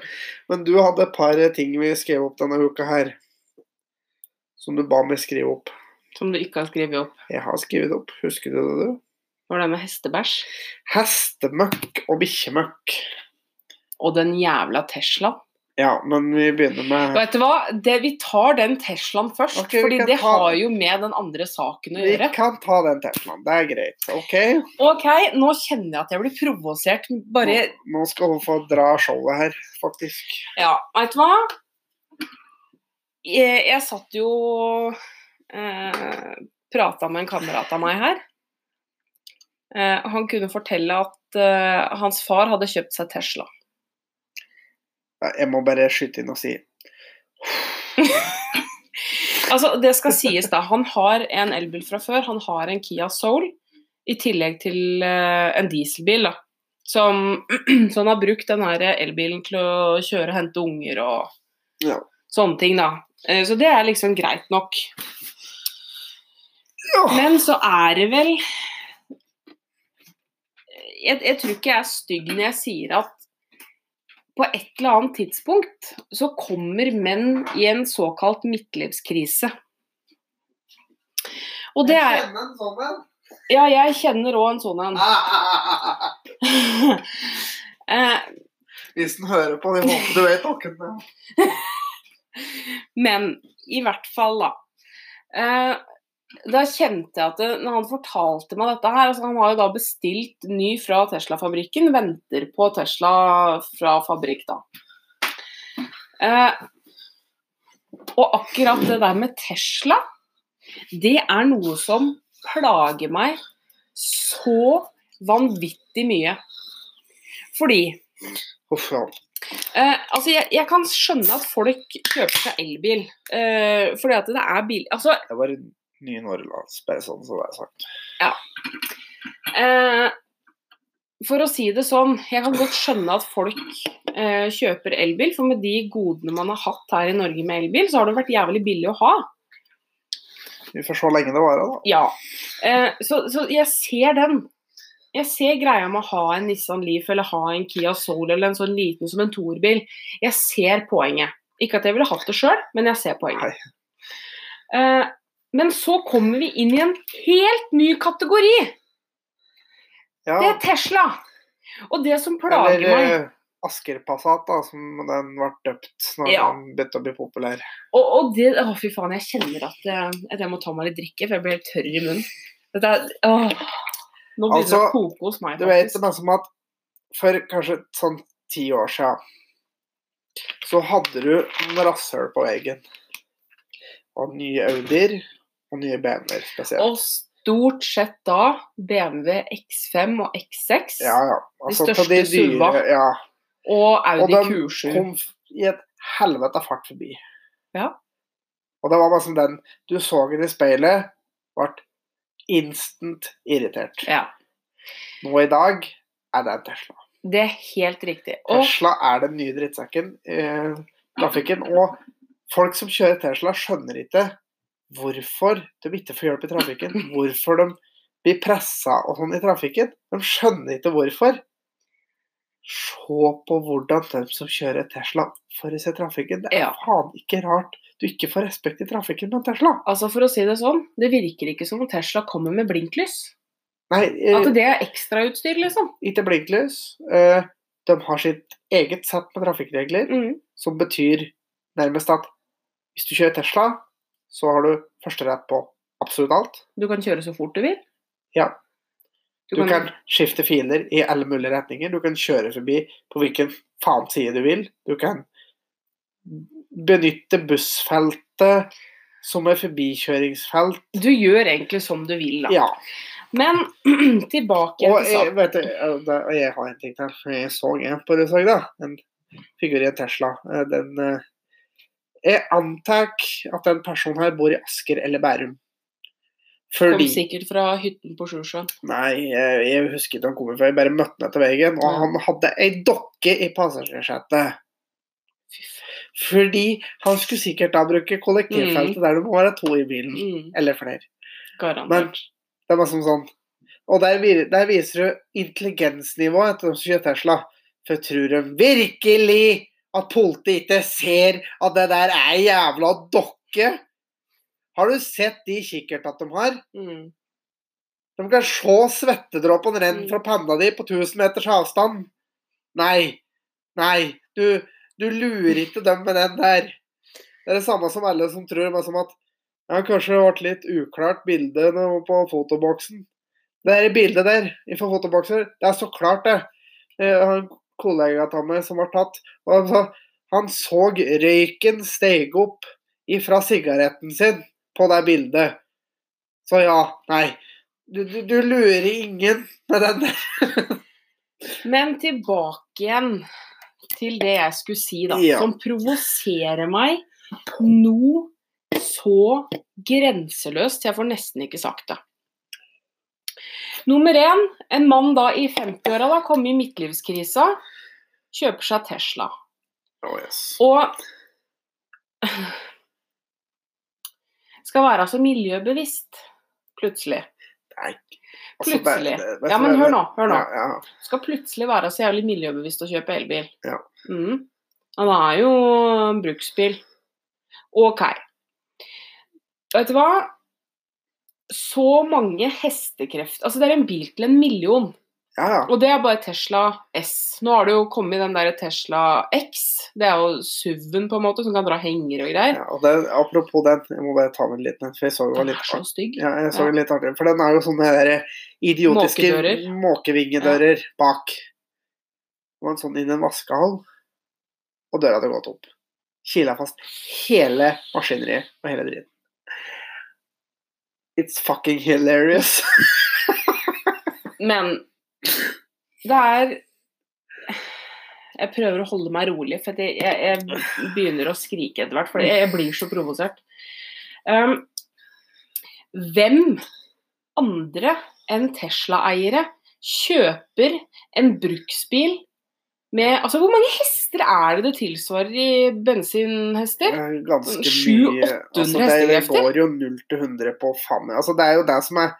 A: Men du hadde et par ting vi skrev opp denne uka her. Som du ba meg skrive opp.
B: Som du ikke har skrevet opp.
A: Jeg har skrevet opp, husker du det, du?
B: Var det med hestebæsj?
A: Hestemøkk og bikkjemøkk.
B: Og den jævla Teslaen.
A: Ja, men vi begynner med
B: Vet du hva, det, vi tar den Teslaen først.
A: Ok, vi
B: fordi
A: kan
B: det
A: ta-
B: har jo med den andre saken å
A: Vi
B: gjøre.
A: kan ta den Teslaen, det er greit. OK?
B: Ok, nå kjenner jeg at jeg blir provosert. Bare
A: Nå skal hun få dra showet her, faktisk.
B: Ja, veit du hva? Jeg, jeg satt jo eh, Prata med en kamerat av meg her. Eh, han kunne fortelle at eh, hans far hadde kjøpt seg Tesla.
A: Ja, Jeg må bare skyte inn og si
B: Altså, det skal sies, da. Han har en elbil fra før. Han har en Kia Soul i tillegg til eh, en dieselbil, da. Som, så han har brukt den her elbilen til å kjøre og hente unger og
A: Ja.
B: sånne ting, da. Eh, så det er liksom greit nok. Men så er det vel jeg, jeg tror ikke jeg er stygg når jeg sier at på et eller annet tidspunkt så kommer menn i en såkalt midtlivskrise. Og det er
A: en sånn en.
B: Ja, jeg kjenner òg en sånn en.
A: Ah,
B: Eh,
A: Hvis den hører på, de håper du vet åkken det. er.
B: Men i hvert fall, da. Eh, da kjente jeg at det, når han fortalte meg dette her altså Han har jo da bestilt ny fra Tesla-fabrikken, venter på Tesla fra fabrikk, da. Eh, og akkurat det der med Tesla, det er noe som plager meg så vanvittig mye. Fordi
A: Uff, ja.
B: Eh, altså, jeg, jeg kan skjønne at folk kjøper seg elbil. Eh, fordi at det er bil... Altså,
A: Jeg var i nye Norrlandsbeisan, så det er sagt.
B: eh, for å si det sånn, jeg kan godt skjønne at folk eh, kjøper elbil. For med de godene man har hatt her i Norge med elbil, så har det vært jævlig billig å ha.
A: Vi får se hvor lenge det varer, da.
B: Ja. Eh, så, så jeg ser den. Jeg ser greia med å ha en Nissan Leaf eller ha en Kia Soul eller en sånn liten som en Thor-bil. Jeg ser poenget. Ikke at jeg ville hatt det sjøl, men jeg ser poenget. Eh, men så kommer vi inn i en helt ny kategori.
A: Ja.
B: Det er Tesla. Og det som plager meg
A: eh, Asker Passat, da, som den ble døpt når
B: Ja.
A: den begynte å bli populær.
B: Og, og det Å, fy faen, jeg kjenner at eh, at jeg må ta meg litt drikke, for jeg blir helt tørr i munnen. Dette er åh. Nå begynner det
A: Altså,
B: å koke hos meg.
A: Du vet
B: faktisk.
A: det er som at for kanskje sånn ti år siden, så hadde du en rasshøl på veggen. Og nye Audier, og nye BMW-er spesielt.
B: Og stort sett da BMW X5 og X6
A: Ja, ja. Altså, til
B: største SUV-a.
A: Ja.
B: og
A: Og
B: Audi
A: de
B: Q7.
A: kom f- i et helvete fart forbi.
B: Mm. Ja.
A: Og det var bare som den Du så den i speilet, ble instant irritert.
B: Ja,
A: Nå i dag er det en Tesla.
B: det er helt riktig. Og,
A: Tesla er den nye drittsekken i trafikken. Og folk som kjører Tesla, skjønner ikke hvorfor de ikke får hjelp i trafikken. Hvorfor de blir pressa og sånn i trafikken. De skjønner ikke hvorfor. Se på hvordan de som kjører Tesla, får i seg trafikken. Det er
B: Ja.
A: faen ikke rart du ikke får respekt i trafikken med en Tesla.
B: altså for å si det sånn, det virker ikke som om Tesla kommer med blinklys.
A: Nei, eh,
B: At det er ekstrautstyr, liksom.
A: ikke blinklys. Eh, De har sitt eget sett med trafikkregler.
B: Mm.
A: som betyr nærmest at hvis du kjører Tesla, så har du førsterett på absolutt alt.
B: Du kan kjøre så fort du vil.
A: Ja.
B: Du
A: Du
B: kan,
A: kan skifte filer i alle mulige retninger. Du kan kjøre forbi på hvilken faen side du vil. Du kan benytte bussfeltet som et forbikjøringsfelt.
B: du gjør egentlig som du vil, da.
A: Ja.
B: Men tilbake
A: Og
B: til
A: jeg,
B: saken.
A: vet du, eh, det, og jeg har en ting til. for Jeg så en på Rødsag, da. En figur i en Tesla. Eh, Den eh, Jeg antar at den personen her bor i Asker eller Bærum.
B: Kom
A: Fordi
B: sikkert fra hytten på Sjusjøen.
A: Nei, jeg, jeg husker ikke hvor han kom fra. Jeg bare møtte han etter veien, og
B: Ja.
A: han hadde ei dokke i passasjersetet. Fordi han skulle sikkert da bruke kollektivfeltet der det må være to i bilen.
B: Mm,
A: Eller flere. Men
B: garantert.
A: det er bare som sånn. Og der, vi- der viser du intelligensnivået til de som kjører Tesla. For tror de virkelig at politiet ikke ser at det der er ei jævla dokke? Har du sett de kikkertene de har?
B: Mm.
A: De kan se svettedråpen renne
B: Mm.
A: fra panna di på 1000 meters avstand. Nei. Nei. Du, du lurer ikke dem med den der. Det er det samme som alle som tror men som at ja, kanskje det ble litt uklart bilde nå på fotoboksen. Det der bildet der fra fotobokser, det er så klart, det. Jeg har en kollega av meg som var tatt, og han sa han så røyken steg opp ifra sigaretten sin på det bildet. Så ja, nei. Du, du, du lurer ingen med den der.
B: Men tilbake igjen til det jeg skulle si, da.
A: Ja.
B: Som provoserer meg noe så grenseløst. Jeg får nesten ikke sagt det. Nummer én, en mann da i 50-åra, da, kom i midtlivskrisa, kjøper seg Tesla. Og skal være så miljøbevisst, plutselig.
A: Altså, det-
B: Plutselig.
A: det- vet
B: Ja,
A: du
B: men
A: hva,
B: hør
A: det-
B: nå. Hør nå.
A: Ja, ja.
B: skal plutselig være så jævlig miljøbevisst å kjøpe elbil.
A: Ja.
B: Mm. Han er jo en bruksbil. Ok. Vet du hva? så mange hestekrefter Altså, det er en bil til en million.
A: Ja, ja.
B: Og det er bare Tesla S. Nå har det jo kommet den der Tesla X. Det er jo SUV-en på en måte, som kan dra hengere og greier.
A: ja og det, apropos den, jeg må bare ta med en liten en, for jeg så det var
B: Den
A: litt
B: er så
A: artig.
B: stygg.
A: Ja, jeg så det litt artig, for den er jo sånne der idiotiske
B: Måkedører.
A: måkevingedører bak. Det var en sånn inn i en vaskehall, og døra hadde gått opp. Kila fast hele maskineriet og hele dritten. It's fucking hilarious.
B: Men det er Jeg prøver å holde meg rolig, for at jeg, jeg, jeg begynner å skrike etter hvert. For jeg, jeg blir så provosert. Um, hvem andre enn Tesla-eiere kjøper en bruksbil med Altså, hvor mange hester er det det tilsvarer i bensinhester?
A: Det er Ganske
B: Sju,
A: mye. Altså, det, det
B: hestekrefter?
A: går jo 0 til 100 på faen meg. Altså, det er jo det som er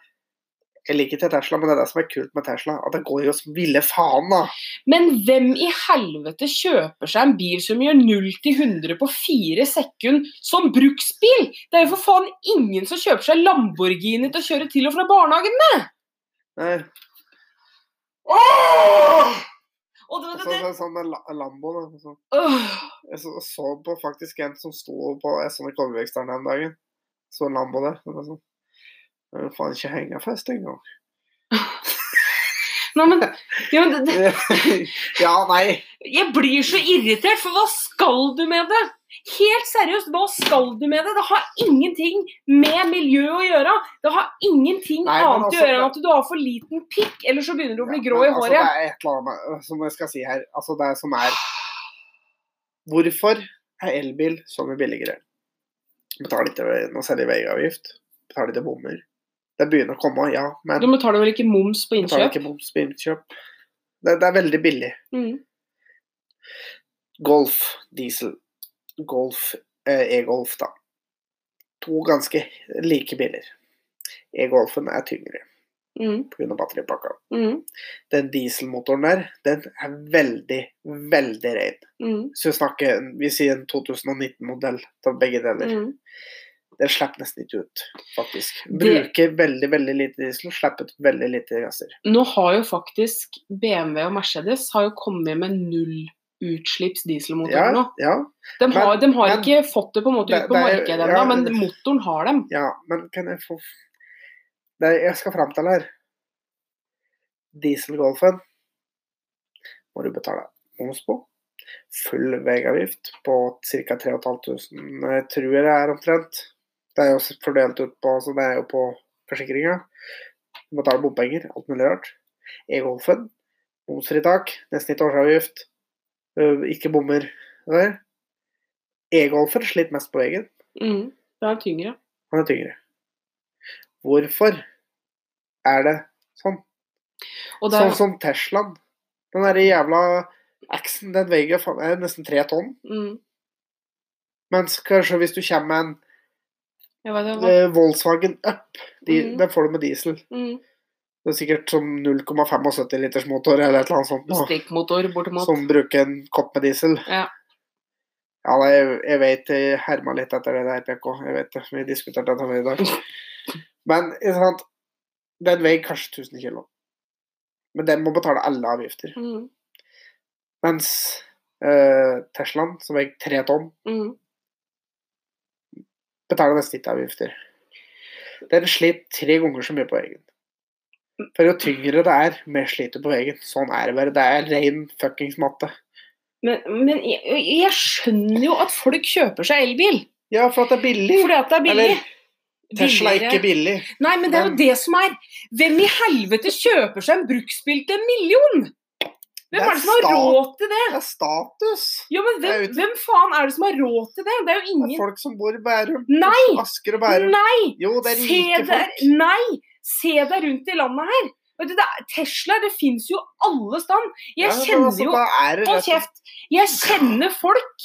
A: Jeg liker til Tesla, men det er det som er kult med Tesla. At det går jo som ville faen, da.
B: Men hvem i helvete kjøper seg en bil som gjør 0 til 100 på 4 sekunder som bruksbil? Det er jo for faen ingen som kjøper seg Lamborghini til å kjøre til og fra barnehagen med!
A: Nei.
B: Og det,
A: Så,
B: det, det.
A: så, sånn med la- Lambo, da. Så.
B: Åh,
A: Jeg så, så på faktisk en som sto på Jeg så den i Kolbjørnstjernen her om dagen. Så en Lambo der. Og det er sånn «Det er jo faen ikke henga fast engang.
B: Nei, men, ja, men det,
A: ja, nei.
B: det, jeg blir så irritert, for hva skal du med det? Helt seriøst, hva skal du med det? Det har ingenting med miljøet å gjøre. Det har ingenting
A: Nei, men
B: annet
A: altså,
B: å gjøre enn
A: det-
B: at du har for liten pikk, eller så begynner du å bli grå
A: Men,
B: i
A: Altså,
B: håret.
A: det er et eller annet som jeg skal si her. Altså, det som er Hvorfor er elbil så mye billigere? Betaler ikke noe særlig veiavgift. Betaler ikke bommer. Det begynner å komme, ja, men
B: Du betaler vel ikke moms på
A: betaler
B: innkjøp?
A: ikke moms på innkjøp. Det, det er veldig billig.
B: Mm.
A: Golf, diesel. Golf, eh, e-golf, da. To ganske like biler. E-golfen er tyngre
B: Mm.
A: pga. batteripakka.
B: Mm,
A: Den dieselmotoren der, den er veldig, veldig rein.
B: mm,
A: Så vi snakker vi sier en 2019-modell av begge deler.
B: mm.
A: Den slipper nesten ikke ut, faktisk.
B: Det-
A: Bruker veldig, veldig lite diesel, slipper ut veldig lite gasser.
B: Nå har jo faktisk BMW og Mercedes har jo kommet med null utslipps dieselmotorer nå.
A: Ja, ja,
B: De har, de har
A: men-
B: ikke fått det på en måte
A: Det-
B: ut på
A: det er-
B: markedet ennå,
A: ja.
B: men motoren har dem.
A: Liksom. Ja, men kan jeg få Det er- jeg skal fram til her. Dieselgolfen må du betale moms på. Full veiavgift på ca. 3500, tror jeg det er omtrent. Det er jo s- fordelt ut på så det er jo på forsikringa. Du betaler bompenger, alt mulig rart. E-golfen, momsfritak, nesten ikke årsavgift. øh, Ikke bommer. der. E-golfen sliter mest på veien.
B: Mm, det er tyngre.
A: Han er tyngre. Hvorfor er det sånn?
B: Og det er,
A: Sånn som Teslaen. Den der jævla Axen, den veier jo faen- er nesten tre tonn.
B: mm,
A: Mens kanskje hvis du kommer med en
B: jeg vet det,
A: eh, Volkswagen Up, de,
B: Mhm.
A: den får du med diesel.
B: mm,
A: Det er sikkert som 0,75 liters motor eller et eller annet sånt. nå,
B: Stikkmotor, bortimot.
A: som bruker en kopp med diesel.
B: Ja.
A: Ja, nei, jeg, jeg vet jeg herma litt etter det der, PK. Jeg vet det. Vi diskuterte dette her i dag. Men ikke sant, den veier kanskje 1000 kilo. Men den må betale alle avgifter.
B: Mm,
A: Mens eh, Teslaen, som veier tre tonn,
B: mm.
A: betaler nesten ikke avgifter. Den sliter tre ganger så mye på veien. For jo tyngre det er, mer sliter på veien. Sånn er det bare. Det er rein fuckings matte.
B: Men, men jeg, jeg skjønner jo at folk kjøper seg elbil,
A: Ja, for at det er billig.
B: fordi at det er billig.
A: Eller, Tesla er
B: Billigere.
A: ikke billig.
B: Nei, men det er jo
A: Men-
B: det som er. Hvem i helvete kjøper seg en bruksbil til en million?
A: Det
B: Hvem
A: er
B: er det som har
A: stat.
B: råd til det?
A: Det er status.
B: Jo, men
A: Det er
B: hvem,
A: jo-
B: hvem faen er det som har råd til det? Det er jo
A: Det er
B: ingen
A: folk som bor i Bærum.
B: Nei!
A: Asker og Bærum.
B: Nei!
A: Jo, det er
B: Se
A: rike
B: deg,
A: folk.
B: nei! Se deg rundt i landet her. Vet du, det er, Tesla det fins jo alle steder. Jeg
A: Ja, men
B: kjenner
A: altså,
B: jo
A: da er det
B: Hold
A: rett og-
B: kjeft! Jeg kjenner folk.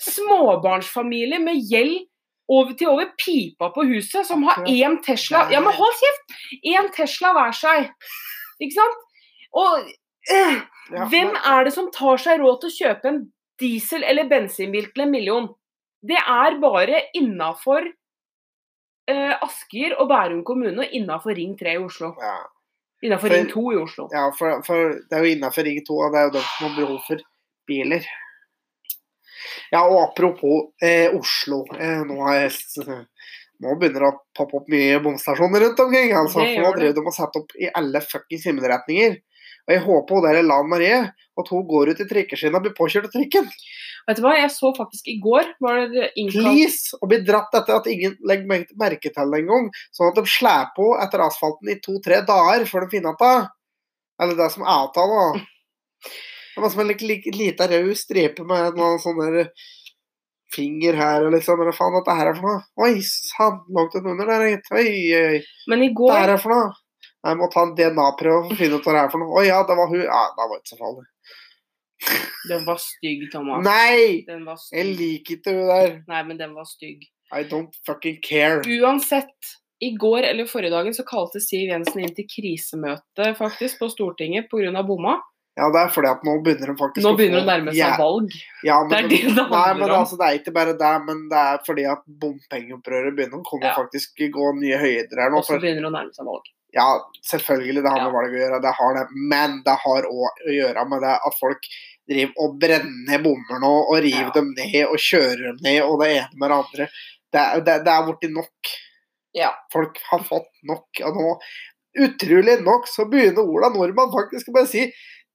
B: Småbarnsfamilier med gjeld over til over pipa på huset, som har
A: Akkurat.
B: én Tesla Ja, men hold kjeft! Én Tesla hver seg. Ikke sant? Og øh,
A: Ja,
B: hvem
A: men-
B: er det som tar seg råd til å kjøpe en diesel- eller bensinbil til en million? Det er bare innafor eh, Asker og Bærum kommune og innafor Ring 3 i Oslo.
A: Ja,
B: Innafor
A: For-
B: Ring 2 i Oslo.
A: ja for, for det er jo innafor Ring 2, og det er jo dem som har behov for biler. Ja, og apropos eh, Oslo. Eh, nå, har jeg, s- nå begynner det å poppe opp mye bomstasjoner rundt omkring. Altså, for
B: Det
A: nå
B: gjør det.
A: driver de og setter opp i alle fuckings himmelretninger. Og jeg håper hun der er Lan Marie, at hun går ut i trikkeskinnet og blir påkjørt av trikken.
B: Vet du hva, jeg så faktisk i går var det innkalt
A: Please! Og blir dratt etter at ingen legger mer- merke til det engang. Sånn at de slår på etter asfalten i to-tre dager før de finner igjen det. Eller det som er avtalen, da. Det er bare som en like, like, lita rød stripe med en eller annen sånn der finger her og liksom Eller faen, dette her er for noe? Oi sann, langt under der, gitt. Oi, oi.
B: Men i
A: Hva
B: går
A: er det for noe? Nei, Jeg må ta en DNA-prøve for å finne ut hva det er for noe. Å ja, det var hun. Ja, det var ikke så farlig.
B: Den var stygg, Thomas.
A: Nei!
B: Den var
A: Jeg
B: stygg.
A: liker ikke hun der.
B: Nei, men den var stygg.
A: I don't fucking care.
B: Uansett, i går eller forrige dagen så kalte Siv Jensen inn til krisemøte faktisk på Stortinget pga. bomma.
A: Ja, det er fordi at nå begynner de faktisk
B: Nå
A: å
B: begynner det
A: få-
B: å nærme
A: ja,
B: seg valg.
A: Ja, men,
B: Det er det
A: nei,
B: det
A: men
B: handler om.
A: altså, det er ikke bare det, men det er fordi at bompengeopprøret begynner å komme
B: Ja.
A: faktisk gå nye høyder her nå.
B: Og
A: For,
B: så begynner det å nærme seg valg.
A: ja, selvfølgelig det har med valg å gjøre, det har det, men det har òg å gjøre med det at folk driver og brenner ned bommer nå, og river
B: Ja.
A: dem ned, og kjører dem ned, og det ene med det andre. Det, er- det, det er blitt nok.
B: Ja.
A: Folk har fått nok, og nå, utrolig nok, så begynner Ola Nordmann faktisk å bare si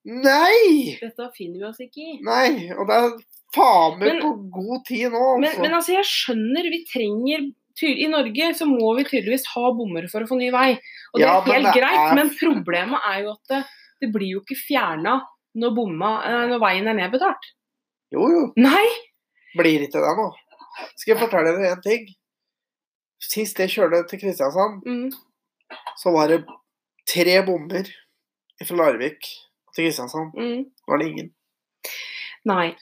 A: nei!
B: Dette finner vi oss ikke i.
A: Nei, og det er faen meg
B: Men-
A: på god tid nå.
B: Men,
A: Altså.
B: men altså, jeg skjønner, vi trenger ty- I Norge så må vi tydeligvis ha bommer for å få ny vei. Og det
A: Ja,
B: er
A: men
B: helt
A: det
B: greit,
A: er-
B: men problemet er jo at det, det blir jo ikke fjerna når, bomma, eh, når veien er nedbetalt.
A: Jo, jo,
B: Nei!
A: blir ikke det nå. Skal jeg fortelle dere en ting? Sist jeg kjørte til Kristiansand,
B: Mm.
A: så var det tre bommer fra Larvik til Kristiansand.
B: Mm.
A: Nå er det ingen.
B: Nei.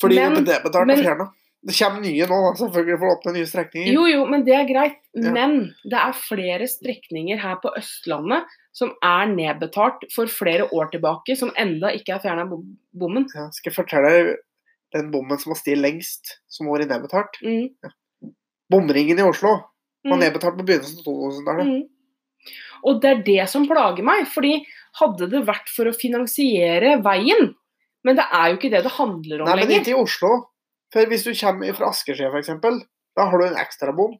A: Fordi
B: Men-
A: det ble betalt
B: men-
A: og fjerna. Det kommer nye nå, da, selvfølgelig, for å åpne nye strekninger.
B: Jo, jo, men det er greit.
A: Mm. Ja.
B: Men det er flere strekninger her på Østlandet som er nedbetalt for flere år tilbake, som enda ikke er fjerna bommen.
A: Ja, skal jeg fortelle dere den bommen som var stilt lengst, som var i nedbetalt?
B: Mm.
A: Bomringen i Oslo var
B: Mm.
A: nedbetalt på begynnelsen av 2000-tallet.
B: Mm. Og det er det som plager meg, fordi hadde det vært for å finansiere veien Men det er jo ikke det det handler om
A: Nei, men
B: lenger.
A: ikke i Oslo. For hvis du kommer fra Askersjø, for eksempel, da har du en ekstrabom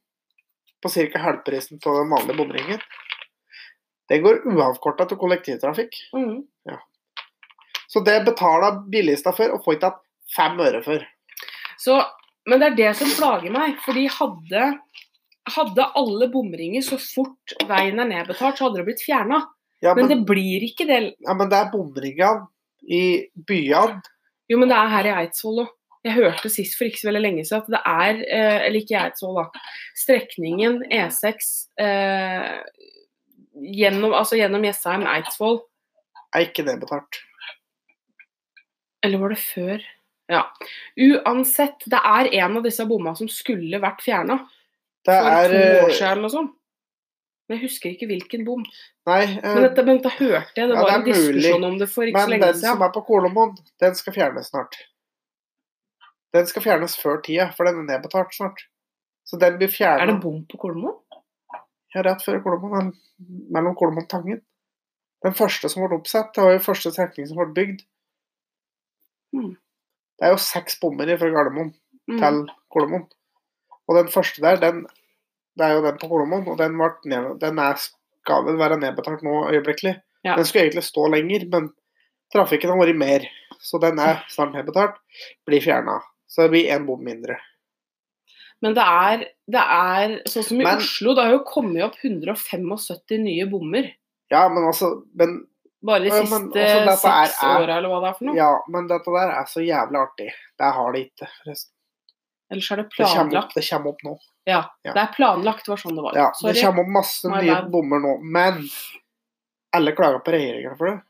A: på ca. halvprisen av den vanlige bomringen. Den går uavkorta til kollektivtrafikk.
B: Mm.
A: Så det betaler bilistene for, og får ikke igjen fem øre for.
B: Så, men det er det som plager meg, fordi hadde, hadde alle bomringer så fort veien er nedbetalt, så hadde det blitt fjerna.
A: Ja,
B: Men
A: men,
B: det blir ikke det
A: ja, men det er bomringene i byene.
B: Jo, men det er her i Eidsvoll òg. Jeg hørte sist for ikke så veldig lenge siden at det er, eh, eller ikke i Eidsvoll, da, strekningen E6 eh, gjennom, altså gjennom Jessheim, Eidsvoll,
A: Er ikke nedbetalt.
B: eller var det før? Ja. Uansett, det er en av disse bomma som skulle vært fjerna
A: Det
B: for
A: er
B: to
A: eh,
B: år siden eller noe sånt. Men jeg husker ikke hvilken bom.
A: Nei, eh,
B: Men, dette, men da hørte jeg, det
A: ja,
B: var
A: det er
B: en diskusjon
A: mulig.
B: om det for ikke så
A: men
B: lenge
A: den som
B: siden.
A: er på Kolomoen, den skal fjernes snart. Den skal fjernes før tida, for den er nedbetalt snart. Så den blir
B: Er det
A: fjernet
B: bom på Kolomoen?
A: Ja, rett før Kolomoen, men mellom Kolomoen og Tangen. Den første som ble oppsatt, det var jo første strekning som ble bygd.
B: Mm.
A: Det er jo seks bommer fra Gardermoen
B: Mm.
A: til Kolomoen. Og den første der, den, det er jo den på Kolomoen, og den, ble ned, den er, skal vel være nedbetalt nå øyeblikkelig.
B: Ja.
A: Den skulle egentlig stå lenger, men trafikken har vært mer. Så den er snart nedbetalt, blir fjerna. Så det blir én bom mindre.
B: Men det er, det er sånn som i
A: Men-
B: Oslo, det har jo kommet opp 175 nye bommer.
A: Ja, men altså Men
B: Bare de
A: Ja, men
B: siste
A: altså, dette er-
B: seks
A: er-
B: åra, eller hva det er for noe.
A: Ja, men dette der er så jævlig artig. Det har det ikke, forresten.
B: Ellers er det
A: Det kommer, opp,
B: planlagt.
A: det kommer opp nå.
B: Ja,
A: ja.
B: det er planlagt, var sånn det var.
A: Ja,
B: Sorry.
A: det kommer opp masse
B: My
A: nye
B: bad.
A: bommer nå. Men alle klager på regjeringen for det.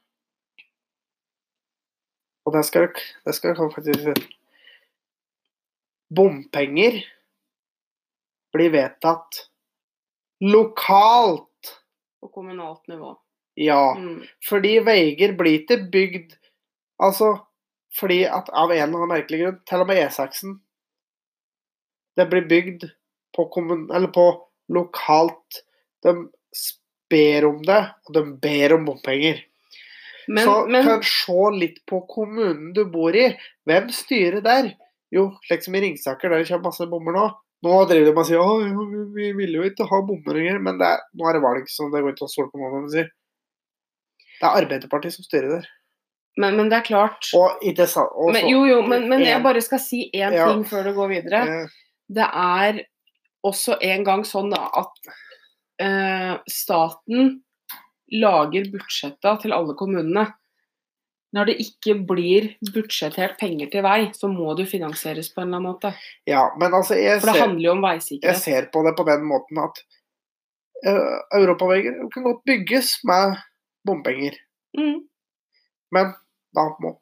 A: Og det skal dere- det skal dere faktisk si. Bompenger blir vedtatt lokalt.
B: På kommunalt nivå.
A: Ja.
B: Mm.
A: Fordi veier blir ikke bygd Altså, fordi at av en eller annen merkelig grunn, til og med E6-en Det blir bygd på, kommun, eller på lokalt De ber om det, og de ber om bompenger.
B: Men,
A: så
B: men
A: kan se litt på kommunen du bor i. Hvem styrer der? Jo, liksom i Ringsaker, der det kommer masse bommer nå. Nå driver de og sier at vi, vi ville jo ikke ha bommer lenger, men det er, nå er det valg, så det går ikke å stole på noe de sier. Det er Arbeiderpartiet som styrer der.
B: Men, men det er klart.
A: Og ikke sa... Og
B: Men,
A: så-
B: jo, jo, men, men jeg
A: en-
B: bare skal si én
A: Ja.
B: ting før du går videre.
A: eh,
B: Det er også en gang sånn da at eh, staten lager budsjetta til alle kommunene. Når det ikke blir budsjettert penger til vei, så må det jo finansieres på en eller annen måte.
A: Ja, men altså, jeg
B: For det
A: ser,
B: handler jo om
A: jeg
B: veisikkerhet.
A: ser på det på den måten at uh, europaveier kan godt bygges med bompenger.
B: Mm.
A: Men da må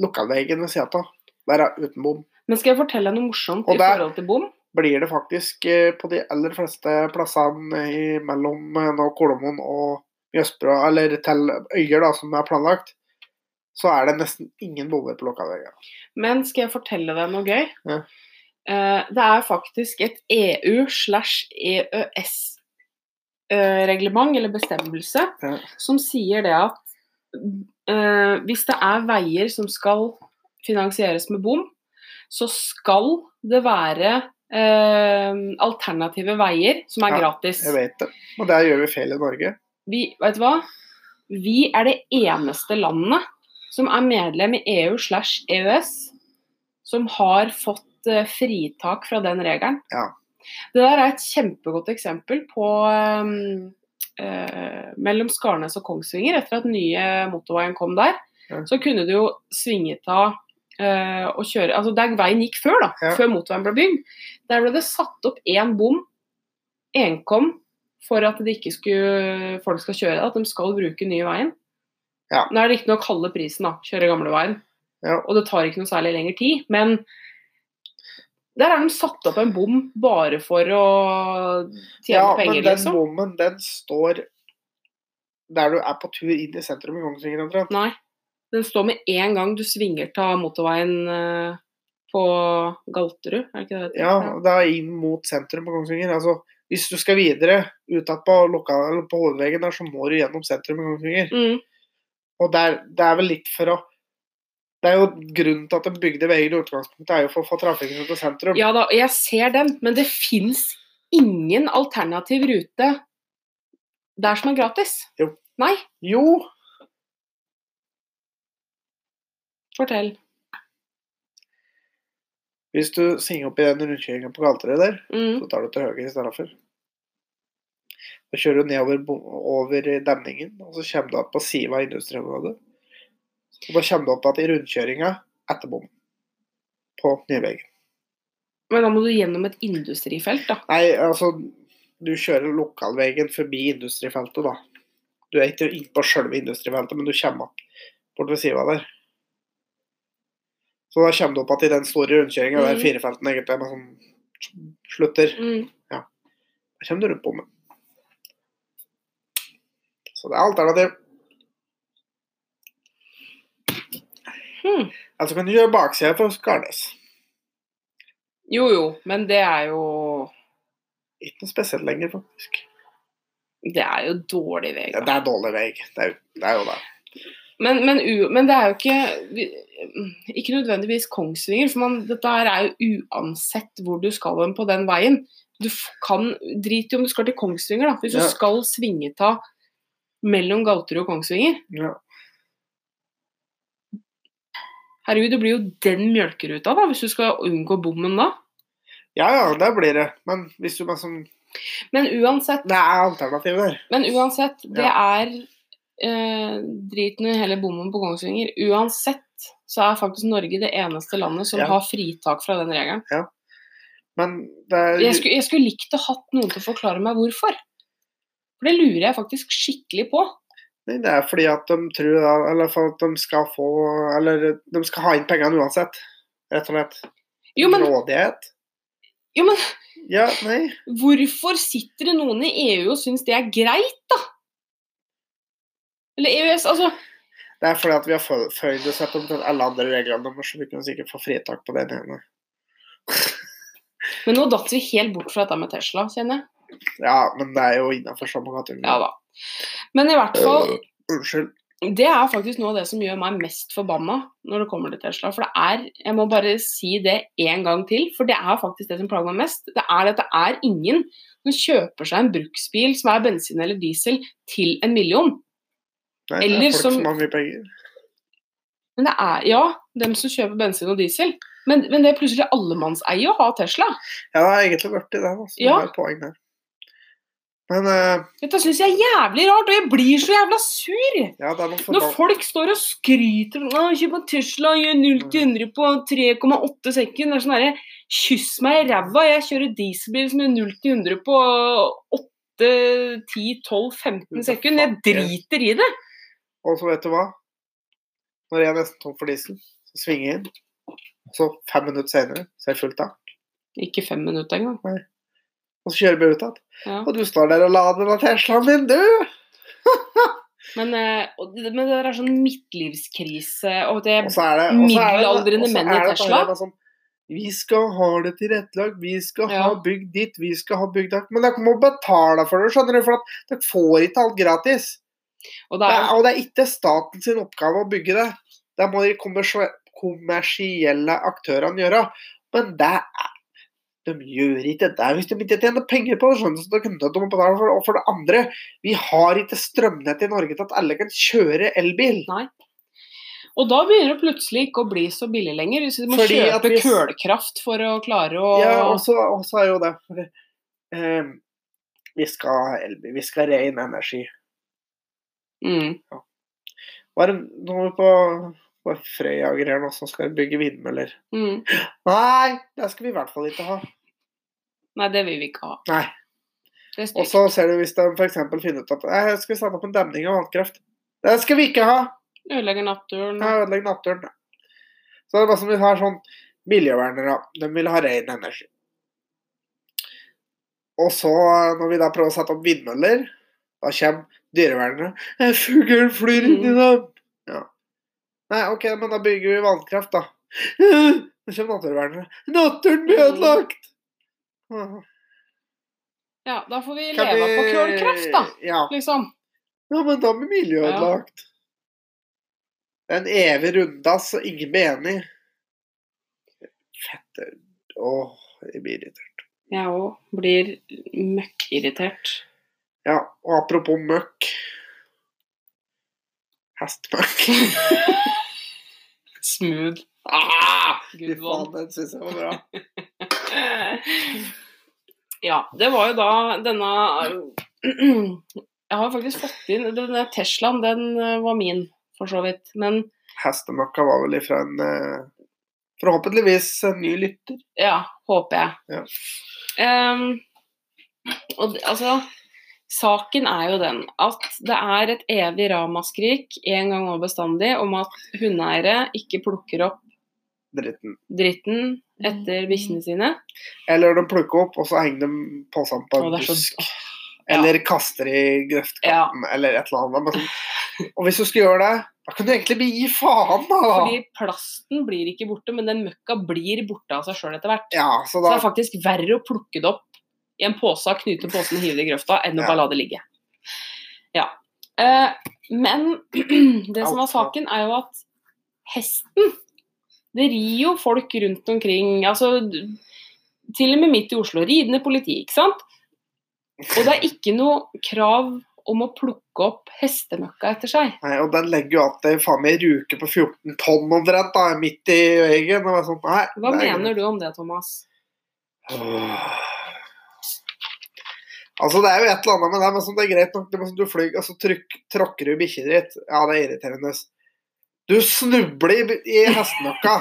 A: lokalveien ved siden av være uten bom.
B: Men skal jeg fortelle deg noe morsomt
A: Og
B: i
A: der-
B: forhold til bom?
A: blir det faktisk eh, på de aller fleste plassene i- mellom eh, nå Kolomoen og Jøsbro, eller til Øyer da, som er planlagt, så er det nesten ingen bommer på lokalveien.
B: Men skal jeg fortelle deg noe gøy?
A: Ja.
B: Eh, det er faktisk et EU slash E EØS-reglement, eh, eller bestemmelse,
A: Ja.
B: som sier det at eh, hvis det er veier som skal finansieres med bom, så skal det være eh, alternative veier som er
A: Ja,
B: gratis.
A: Jeg vet det. Men der gjør vi feil i Norge.
B: Vi, vet du hva? Vi er det eneste landet som er medlem i EU slash EØS som har fått eh, fritak fra den regelen.
A: Ja.
B: Det der er et kjempegodt eksempel på um, eh, mellom Skarnes og Kongsvinger. Etter at den nye motorveien kom der,
A: Ja.
B: så kunne du jo svinge av eh, og kjøre Altså der veien gikk før, da.
A: Ja.
B: Før motorveien ble bygd. Der ble det satt opp én bom, enkom, for at det ikke skulle, folk skal kjøre der. At de skal bruke nye veien.
A: Ja.
B: Nå er det riktignok halve prisen, da. Kjøre gamleveien.
A: Ja.
B: Og det tar ikke noe særlig lengre tid. Men der har de satt opp en bom bare for å tjene
A: Ja,
B: penger,
A: men den
B: liksom.
A: bommen, den står der du er på tur inn i sentrum i Kongsvinger omtrent.
B: Nei. Den står med en gang du svinger til motorveien eh, på Galterud, er det ikke det det heter?
A: Ja, det er inn mot sentrum på Kongsvinger. Altså, hvis du skal videre utenat på, lokal- eller på hovedvegen der, så må du gjennom sentrum i Kongsvinger.
B: Mm.
A: Og det er, det er vel litt for å Det er jo grunnen til at de bygde veier i utgangspunktet, er jo for å få trafikken ut til sentrum.
B: ja da, jeg ser den, men det fins ingen alternativ rute der som er gratis.
A: Jo.
B: Nei,
A: Jo,
B: fortell.
A: hvis du svinger opp i den rundkjøringen på Galterøy der,
B: Mm.
A: så tar du til høyre istedenfor. Så kjører du nedover bom- over demningen, og så kommer du opp på sida av industriområdet. Og da kommer du opp igjen i rundkjøringa etter bommen. På Nyvegen.
B: Men da må du gjennom et industrifelt, da.
A: Nei, altså Du kjører lokalvegen forbi industrifeltet, da. Du er ikke inne på sjølve industrifeltet, men du kommer opp bort ved sida der. Så da kommer du opp igjen i den store rundkjøringa der
B: Mhm.
A: firefelten egentlig bare sånn slutter.
B: Mm.
A: Da kommer du rundt bommen. Så det er alternativ.
B: Hmm.
A: Eller så Altså, kan du kjøre baksida fra Skarnes.
B: Jo jo, men det er jo
A: Ikke noe spesielt lenger, faktisk.
B: Det er jo dårlig
A: Det,
B: vei. da.
A: det er dårlig vei. Det er, jo- det er jo det.
B: Men, men, u, men det er jo ikke vi- Ikke nødvendigvis Kongsvinger, for man, dette her er jo uansett hvor du skal hen på den veien. Du f- kan Drit i om du skal til Kongsvinger, da. Hvis
A: Ja.
B: du skal svinge ta mellom Galterud og Kongsvinger
A: Ja.
B: Herregud, det blir jo den mjølkeruta, da, hvis du skal unngå bommen da.
A: Ja ja, der blir det. Men hvis du bare sånn
B: Men uansett,
A: Det er alternativ der.
B: Men uansett, det
A: Ja.
B: er eh, driten i hele bommen på Kongsvinger. Uansett så er faktisk Norge det eneste landet som
A: Ja.
B: har fritak fra den regelen.
A: Men det er
B: Jeg skulle, jeg skulle likt å hatt noen til å forklare meg hvorfor. For det lurer jeg faktisk skikkelig på.
A: Nei, Det er fordi at de tror da, Eller for at de skal få Eller de skal ha inn pengene uansett. Rett og slett.
B: Jo, men,
A: Rådighet.
B: jo, men
A: Ja, nei.
B: hvorfor sitter det noen i EU og syns det er greit, da? Eller EØS, altså.
A: Det er fordi at vi har fø- føyd oss etter omtrent alle andre reglene deres, så vi kunne sikkert få fritak på den ene.
B: Men nå datt vi helt bort fra dette med Tesla, kjenner jeg.
A: Ja, men det er jo innafor samme kategori.
B: Ja da. Men i hvert fall,
A: Øh, Unnskyld.
B: det er faktisk noe av det som gjør meg mest forbanna når det kommer til Tesla. For det er, jeg må bare si det en gang til, for det er faktisk det som plager meg mest. Det er at det er ingen som kjøper seg en bruksbil som er bensin eller diesel til en million.
A: Nei, det
B: Eller
A: er folk
B: som-
A: som... har mye penger.
B: Men det er, ja, dem som kjøper bensin og diesel. Men, men det er plutselig allemannseie å ha Tesla.
A: Ja, det har egentlig vært i det. da, så
B: Ja.
A: Det er et poeng der. Men eh,
B: Dette syns jeg er jævlig rart, og jeg blir så jævla sur!
A: ja, det er noen
B: Når
A: forbanna
B: folk står og skryter om å, kjøp en Tesla, gjør 0 til 100 på 3,8 sekunder. Det er sånn herre Kyss meg i ræva, jeg kjører dieselbil som gjør 0 til 100 på 8, 10, 12, 15 sekunder. Jeg driter i det.
A: Og så vet du hva? Når jeg er nesten tom for diesel, så svinger jeg inn. Så fem minutter senere, så er jeg fullt av.
B: Ikke fem minutter engang.
A: Og så kjører vi ut igjen.
B: Ja.
A: Og du står der og lader den Teslaen din, du!
B: Men, eh, og det- men det der er sånn midtlivskrise og
A: Og
B: det
A: så er det og så er det-
B: Middelaldrende
A: og så
B: menn i
A: er det bare
B: Tesla.
A: det Sånn, vi skal ha det tilrettelagt, vi skal ha
B: Ja.
A: bygd ditt, vi skal ha bygd datt. Men dere må betale for det, skjønner du, for at dere får ikke alt gratis.
B: Og det
A: Det
B: er
A: er, og det er ikke staten sin oppgave å bygge det. Det må de kommersie- kommersielle aktørene gjøre. Men det er, de gjør ikke det hvis de ikke tjener penger på det. skjønner du, så det er nødt til å betale for det. Og for det andre, vi har ikke strømnett i Norge til at alle kan kjøre elbil.
B: Og da begynner det plutselig ikke å bli så billig lenger. Hvis du må
A: Fordi at
B: kjøpe
A: hvis-
B: kullkraft for å klare å
A: Ja, og så og så er jo det for, eh, Vi skal ha elbil, vi skal ha ren energi.
B: mm.
A: Hva er det nå er vi på, på Frøyager her nå, som skal bygge vindmøller?
B: Mm.
A: Nei, det skal vi i hvert fall ikke ha.
B: Nei, det vil vi ikke ha.
A: Nei.
B: Det er stygt.
A: Og så ser du hvis de f.eks. finner ut at «Nei, her skal vi sette opp en demning av vannkraft. Det skal vi ikke ha!
B: Ødelegger naturen.
A: Det ødelegger naturen. Så det er bare som vi har sånn miljøvernere. De vil ha ren energi. Og så, når vi da prøver å sette opp vindmøller, da kommer dyrevernere. «Eh, Fuglen flyr inn i
B: Mm.
A: dem! Ja. Nei, OK, men da bygger vi vannkraft, da. Da kommer naturvernere. Naturen blir ødelagt!
B: Ja, da får vi
A: Kan
B: leve
A: vi-
B: på kullkraft, da.
A: Ja.
B: Liksom.
A: Ja, men da blir miljøet
B: Ja.
A: ødelagt. Det er en evig runddans, og ingen blir enig. Fette Åh, jeg blir irritert.
B: Jeg òg blir møkkirritert.
A: Ja, og apropos møkk Hestmøkk.
B: Smooth.
A: Ah, Fy
B: Good
A: faen,
B: one.
A: den syns jeg var bra.
B: Ja, det var jo da denne Jeg har faktisk fått inn Denne Teslaen, den eh, var min, for så vidt. Men
A: Hestemøkka var vel ifra en eh, Forhåpentligvis en ny lytter.
B: Ja, håper jeg.
A: Ja.
B: Ehm, og d- altså Saken er jo den at det er et evig ramaskrik en gang og bestandig om at hundeeiere ikke plukker opp
A: Dritten.
B: dritten etter bikkjene sine.
A: Eller de plukker opp, og så henger de på sammen på
B: Å,
A: en
B: det er så-
A: busk.
B: Ja.
A: Eller kaster i grøftkanten, eller et eller annet. Men sånn, og hvis du skal gjøre det, da kan du egentlig bare gi faen, da!
B: Fordi plasten blir ikke borte, men den møkka blir borte av seg sjøl etter hvert.
A: ja, så
B: Så
A: da,
B: det er faktisk verre å plukke det opp i en pose, knyte posen og hive det i grøfta, enn å
A: Ja.
B: bare la det ligge. Ja. Eh, men det som var
A: Alt fra-
B: saken, er jo at hesten Det rir jo folk rundt omkring. Altså d- Til og med midt i Oslo. Ridende politi, ikke sant? Og det er ikke noe krav om å plukke opp hestemøkka etter seg.
A: nei, og den legger jo alltid faen meg i ruke på 14 tonn omtrent, da, midt i veggen. Og det er sånn, nei,
B: Hva mener du om det, Thomas?
A: Altså, det er jo et eller annet med det, men sånn, det er greit nok. Det er bare sånn, du flyr, altså, trykk, tråkker du bikkja ditt. Ja, det er irriterende. Du snubler i, i hestenokka.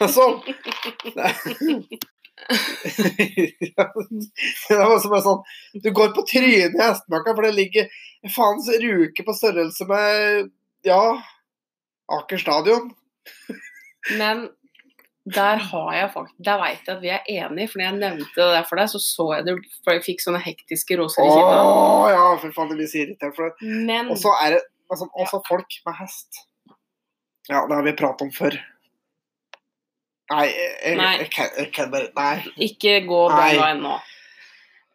A: altså det, Ja, det er bare som en sånn Du går på trynet i hestenokka, for det ligger en faens ruke på størrelse med Ja, Aker stadion.
B: Men der har jeg faktisk Der veit jeg at vi er enige, for når jeg nevnte det der for deg, så så jeg det For jeg fikk sånne hektiske roser i kinna.
A: Åh, ja, for faen, det blir så irritert for det.
B: Men
A: Og så er det altså, også folk med hest. Ja, det har vi pratet om før. Nei, jeg, jeg,
B: Nei.
A: jeg, kan, jeg kan bare Nei.
B: ikke gå den
A: Nei.
B: veien nå.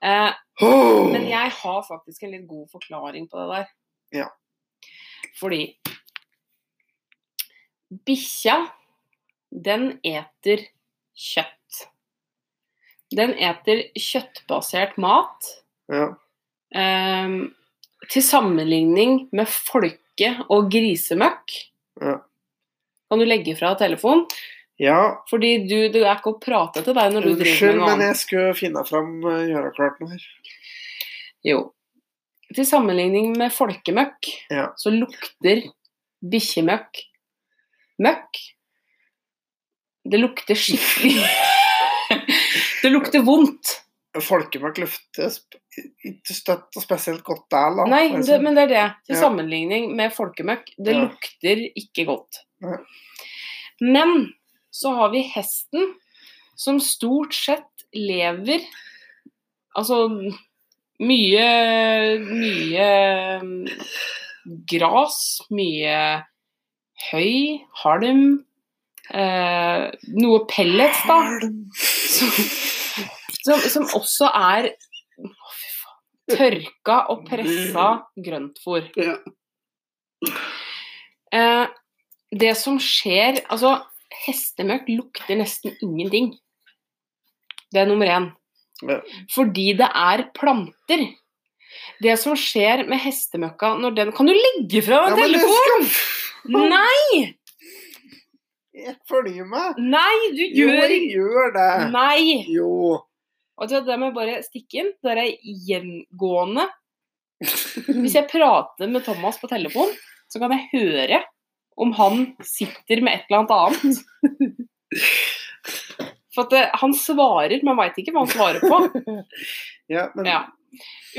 B: Eh,
A: Åh!
B: men jeg har faktisk en litt god forklaring på det der.
A: Ja.
B: Fordi bikkja, den eter kjøtt. Den eter kjøttbasert mat.
A: ja.
B: Ehm, til sammenligning med folke og grisemøkk
A: Ja.
B: kan du legge fra telefon.
A: ja.
B: Fordi du, det er ikke å prate til deg når du driver
A: Unnskyld,
B: med noe
A: men
B: annet.
A: jeg skulle finne fram eh, gjøre klart noe her.
B: Jo. Til sammenligning med folkemøkk,
A: Ja.
B: så lukter bikkjemøkk møkk. Det lukter skikkelig Det lukter vondt.
A: Folkemøkk luftes ikke støtt og spesielt godt der, da. Liksom.
B: Nei, det, men det er det. Til
A: Ja.
B: sammenligning med folkemøkk. Det
A: Ja.
B: lukter ikke godt.
A: Nei.
B: Men så har vi hesten, som stort sett lever Altså mye mye mm, gras, mye høy, halm eh, Noe pellets, da. Som, som, som også er Å, fy faen. Tørka og pressa grøntfôr.
A: Ja.
B: Eh, det som skjer Altså, hestemøkk lukter nesten ingenting. Det er nummer én.
A: Ja.
B: Fordi det er planter. Det som skjer med hestemøkka når den Kan du legge fra
A: Ja,
B: deg
A: men du
B: telefonen?! Nei,
A: Jeg følger med.
B: nei, du
A: Jo,
B: gjør
A: jeg gjør det.
B: ikke Nei!
A: Jo.
B: Og det der med bare stikke inn, det der er gjengående. Hvis jeg prater med Thomas på telefon, så kan jeg høre om han sitter med et eller annet annet. For at det, han svarer, man veit ikke hva han svarer på.
A: Ja, men
B: Ja.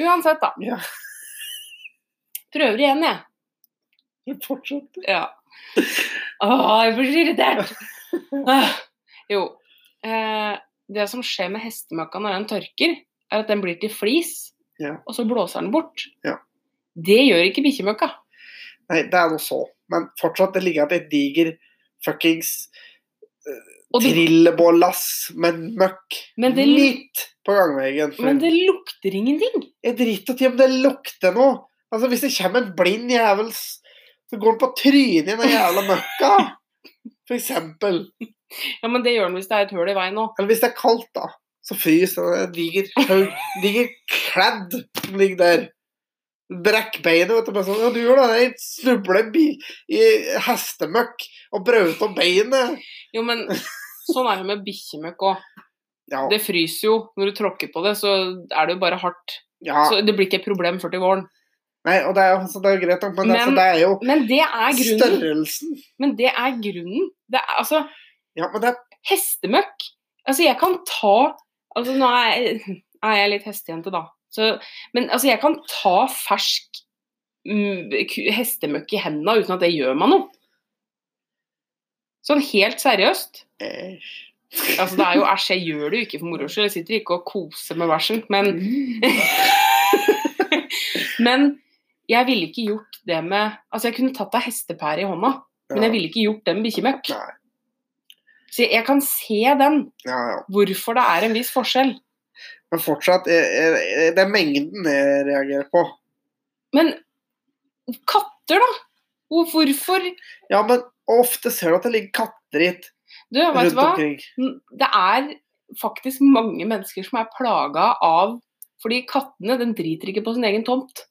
B: Uansett, da.
A: Ja.
B: Prøver igjen, jeg.
A: fortsett.
B: Ja. Åh, jeg blir så irritert! Ah, jo. Eh, det som skjer med hestemøkka når den tørker, er at den blir til flis,
A: Ja.
B: og så blåser den bort.
A: Ja.
B: Det gjør ikke bikkjemøkka.
A: Nei, det er noe så. Men fortsatt, det ligger at et diger fuckings
B: Og det,
A: trillebårlass med møkk
B: Men det-
A: midt på gangveien.
B: men det lukter ingenting.
A: Jeg driter i om det lukter noe. Altså, hvis det kommer en blind jævel, s- så går han på trynet i den jævla møkka. For eksempel.
B: Ja, men det gjør den hvis det er et hull i veien òg.
A: Eller hvis det er kaldt, da. Så fryser det en diger, haug- diger kledd som ligger der. Brekk beinet, vet du. Bare sånn, ja, du gjør det. Jeg snubler i bi- i hestemøkk og brøt om beinet.
B: Jo, men sånn er det med bikkjemøkk òg.
A: Ja,
B: Det fryser jo. Når du tråkker på det, så er det jo bare hardt.
A: ja.
B: Så det blir ikke et problem før til våren.
A: Nei, og det er, jo- altså, det er jo greit nok, men, altså,
B: Men-
A: det er jo
B: Men det er grunnen.
A: størrelsen.
B: Men det er grunnen. Det er, altså,
A: Ja, men det er
B: hestemøkk. Altså, jeg kan ta Altså, nå er jeg, er jeg litt hestejente, da. Så, men altså, jeg kan ta fersk mm, ku- hestemøkk i hendene uten at det gjør meg noe. Sånn helt seriøst.
A: eh,
B: Altså, det er jo æsj, jeg gjør det jo ikke for moro skyld. Jeg sitter ikke og koser med bæsjen, men Men jeg ville ikke gjort det med Altså, jeg kunne tatt av hestepære i hånda, men
A: ja.
B: jeg ville ikke gjort det med bikkjemøkk.
A: Nei.
B: Så jeg kan se den,
A: Ja, ja.
B: hvorfor det er en viss forskjell.
A: Men fortsatt, jeg, jeg, jeg- det er mengden jeg reagerer på.
B: Men katter, da? Hvor- Hvorfor
A: Ja, men ofte ser du at det ligger kattedritt
B: Du, vet du
A: rundt
B: hva?
A: omkring.
B: Det er faktisk mange mennesker som er plaga av Fordi kattene den driter ikke på sin egen tomt.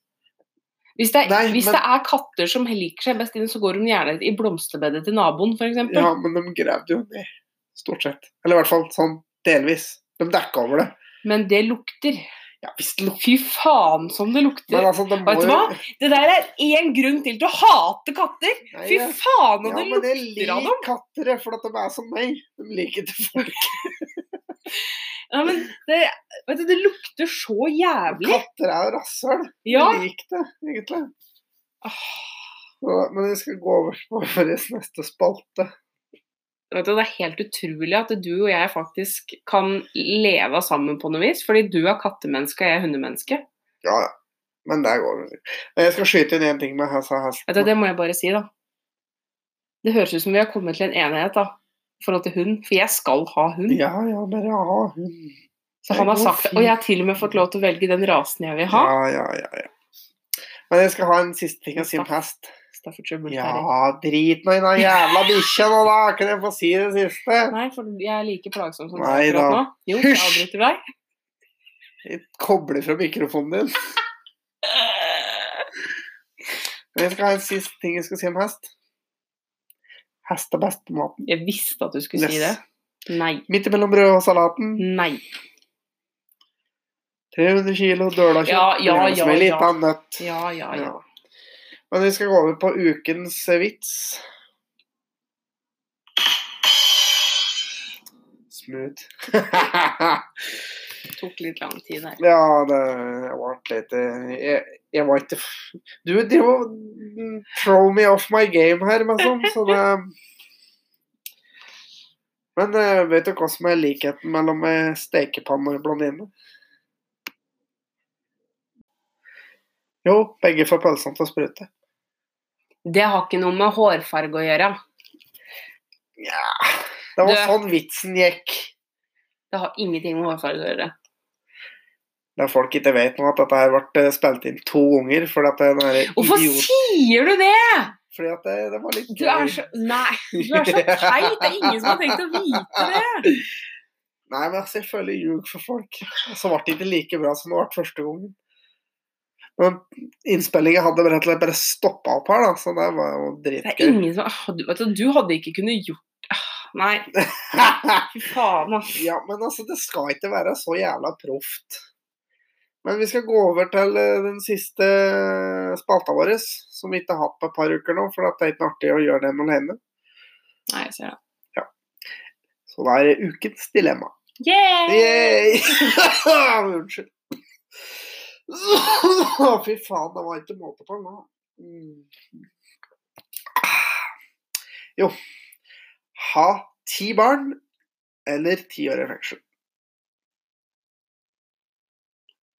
B: Hvis det er,
A: Nei,
B: hvis
A: men-
B: det er katter som liker seg best inne, så går de gjerne i blomsterbedet til naboen, f.eks.
A: Ja, men de grev det jo ned, stort sett. Eller i hvert fall sånn delvis. De dekka over det.
B: Men det lukter.
A: Ja, visst lukter
B: Fy faen som det
A: Men
B: lukter.
A: altså, de må
B: Vet du
A: jo-
B: hva? Det der er én grunn til til å hate katter!
A: Nei,
B: Fy
A: ja.
B: faen, og
A: Ja, men
B: det
A: jeg
B: lukter av
A: liker
B: dem!
A: katter, jeg, for at de er som meg. De liker ikke folk.
B: Ja, men det, vet du, det lukter så jævlig.
A: Katter er jo rasshøl.
B: Ja. Ah.
A: Jeg liker det, egentlig.
B: Åh.
A: Så- Men jeg skal gå over på vår neste spalte.
B: Vet du, det er helt utrolig at du og jeg faktisk kan leve sammen på noe vis. Fordi du er kattemenneske og jeg er hundemenneske.
A: Ja, ja. Men der går det. Jeg skal skyte inn én ting med hest og hest.
B: Vet du, det må jeg bare si, da. Det høres ut som vi har kommet til en enighet da, i forhold til hund. For jeg skal ha hund.
A: Ja, ja, bare ha hund.
B: Så
A: Det
B: han har
A: går
B: sagt det. Og jeg har til og med fått lov til å velge den rasen jeg vil ha.
A: Ja, ja, ja, ja. Men jeg skal ha en siste ting å si om
B: Staff.
A: hest.
B: Staffordshire Bull Terrier.
A: Ja, drit nå i den jævla bikkja nå, da! Kan jeg få si det siste?
B: Nei, for jeg er like plagsom som deg
A: Nei
B: akkurat
A: da.
B: nå. Jo, jeg
A: Hysj!
B: avbryter deg.
A: Jeg kobler fra mikrofonen din. Men jeg skal ha en siste ting jeg skal si om hest. Hest er best på maten.
B: Jeg visste at du skulle si det.
A: Yes.
B: Nei.
A: Midt imellom brød og salaten.
B: Nei.
A: 300 kilo døla kjøtt.
B: Ja, ja,
A: gjerne
B: ja,
A: Med litt
B: ja.
A: av nøtt.
B: Ja, ja, ja.
A: Ja. Men vi skal gå over på ukens eh, vits. Smooth.
B: Det tok litt lang tid der.
A: ja, det jeg var litt eh, Jeg, jeg var ikke f- Du driver og throw me off my game her, liksom. Så det Men eh, vet du hva som er likheten mellom eh, stekepanne og blondine? Jo, begge får pølsene til å sprute.
B: Det har ikke noe med hårfarge å gjøre.
A: Nja Det var
B: Du-
A: sånn vitsen gikk.
B: Det har ingenting med hårfarge å gjøre.
A: Der folk ikke vet nå at dette her ble eh, spilt inn to ganger. Fordi at den der
B: Hvorfor
A: idiot...
B: sier du det?!
A: Fordi at det, det var litt
B: Du er så Nei, du er så teit! Det er ingen som har tenkt å vite det!
A: Nei, men altså, jeg føler jeg ljug for folk. Så ble det ikke like bra som det ble første gangen. Men innspillingen hadde rett og slett bare stoppa opp her, da. Så det var jo
B: Det er
A: dritgøy.
B: ingen som Ah, du, vet du, du hadde ikke kunnet gjort Ah, Nei, fy faen, ass.
A: ja, men altså, det skal ikke være så jævla proft. Men vi skal gå over til eh, den siste eh, spalta vår, som vi ikke har hatt på et par uker nå, for at det er ikke artig å gjøre den alene.
B: Nei, jeg ser det.
A: Så det er ukens dilemma.
B: Yeah!
A: Yay! Unnskyld. Fy faen, det var ikke måte på nå. Mm. Jo. Ha ti barn eller ti år i fengsel.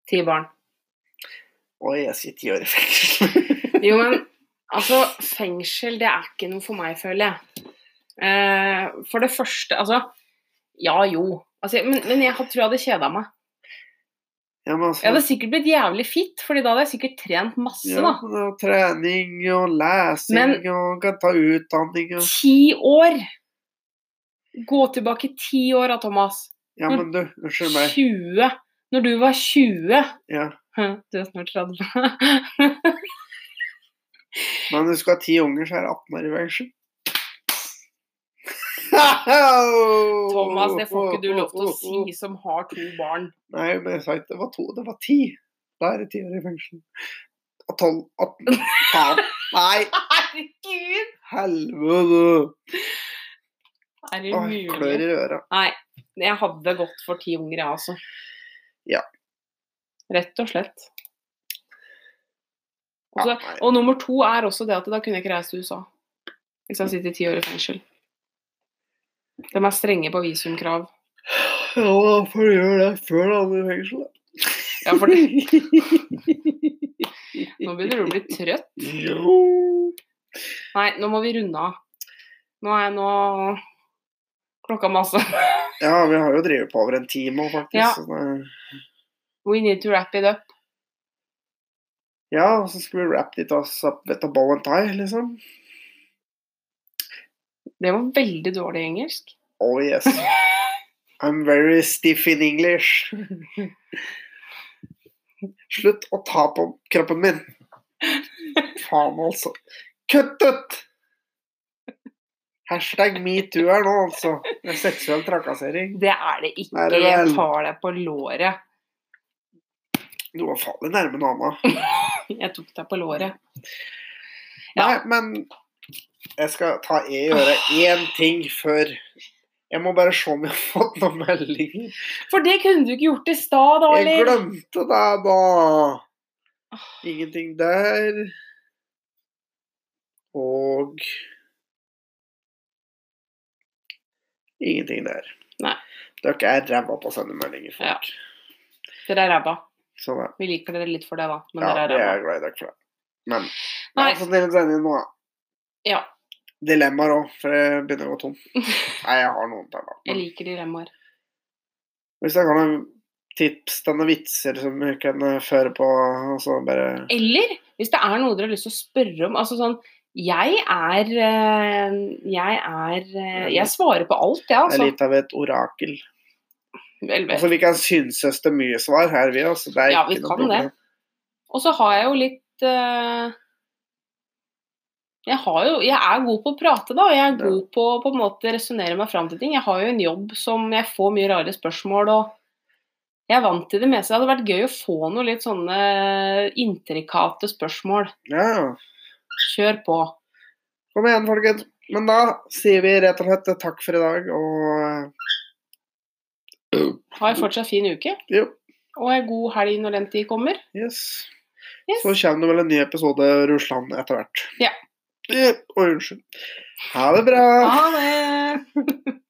B: Ti barn.
A: Og jeg sier ti år i fengsel.
B: Jo, men altså, fengsel det er ikke noe for meg, føler jeg. Eh, for det første, altså Ja, jo. Altså, men, men jeg tror jeg hadde kjeda meg.
A: Ja, men altså,
B: Jeg hadde sikkert blitt jævlig fit, Fordi da hadde jeg sikkert trent masse,
A: ja,
B: da.
A: det er trening og lesing
B: Men-
A: og kan ta utdanning og
B: Ti år! Gå tilbake ti år da, Thomas.
A: Ja, men du, unnskyld meg.
B: 20. Når du var 20
A: Ja.
B: Du er snart 30.
A: Men du skal ha ti unger, så er det 18 år i fengsel. Thomas,
B: Thomas, det får ikke du lov til å si som har to barn.
A: Nei, men jeg sa ikke det var to, det var ti. Da er det ti år i fengsel. Og tolv 18 Faen. Nei,
B: Herregud!
A: helvete!
B: Er det
A: Åh,
B: mulig?
A: Klør i øra.
B: Nei, jeg hadde gått for ti unger, jeg altså.
A: Ja.
B: Rett og slett.
A: Ja,
B: Og, så,
A: nei.
B: og nummer to er også det at da kunne jeg ikke reist til USA. Hvis jeg sitter ti år i fengsel. De er strenge på visumkrav.
A: Ja, da får du gjøre det før du havner i fengsel, da.
B: Ja, for det, nå begynner du å bli trøtt.
A: Jo.
B: Nei, nå må vi runde av. Nå er jeg nå Klokka masse.
A: Ja, vi har jo drevet på over en time, faktisk.
B: Ja.
A: så det-
B: We need to wrap it up.
A: Ja, og så skulle vi wrap it us up with a bow and tie, liksom.
B: Det var veldig dårlig engelsk.
A: Oh yes. I'm very stiff in English. Slutt å ta på kroppen min. Faen, altså. Kutt ut! Hashtag metoo er nå, altså. Det er seksuell trakassering.
B: Det er det ikke.
A: Nei, det er vel-
B: Jeg tar deg på låret.
A: Du var farlig nærme noe annet.
B: Jeg tok deg på låret.
A: Nei,
B: Ja.
A: men jeg skal ta jeg gjøre én ting før Jeg må bare se om jeg har fått noen meldinger.
B: For det kunne du ikke gjort i stad, da,
A: Jeg
B: eller?
A: glemte deg, da. Ingenting der. Og Ingenting der.
B: Nei.
A: Dere er ræva på å sende meldinger, folk.
B: Dere er ræva.
A: Så det,
B: Vi liker dere litt for det, da. Men
A: ja,
B: dere er
A: det er
B: ræva.
A: jeg glad i dere for. det. Men
B: Nei.
A: jeg har fått dere til å sende inn noe.
B: Ja.
A: Dilemmaer òg, for jeg begynner å gå tom. Nei, jeg har noen der, da.
B: Jeg
A: Men
B: liker dilemmaer.
A: hvis jeg kan tips til noen vitser som vi kan eh, føre på, og så bare
B: Eller hvis det er noe dere har lyst til å spørre om. Altså sånn Jeg er eh, Jeg er eh, Jeg svarer på alt, jeg, ja,
A: Det er
B: altså.
A: litt av et orakel.
B: Vel, vel.
A: Altså, vi kan synses til mye svar her, vi. Altså, det er
B: Ja, vi
A: ikke noe
B: kan det.
A: problem.
B: Og så har jeg jo litt eh, jeg, har jo, jeg er god på å prate, da. og Jeg er
A: Ja.
B: god på å på en måte resonnere meg fram til ting. Jeg har jo en jobb som jeg får mye rare spørsmål, og jeg er vant til det meste. Det hadde vært gøy å få noen litt sånne intrikate spørsmål.
A: Ja,
B: Kjør på.
A: kom igjen, folkens. Men da sier vi rett og slett takk for i dag, og eh,
B: Ha en fortsatt fin uke,
A: eh, jo,
B: og en god helg når den tid kommer.
A: yes.
B: Yes.
A: Så kommer det vel en ny episode Russland etter hvert.
B: Ja.
A: Eh, Å, unnskyld. Ha det bra.
B: Ha det!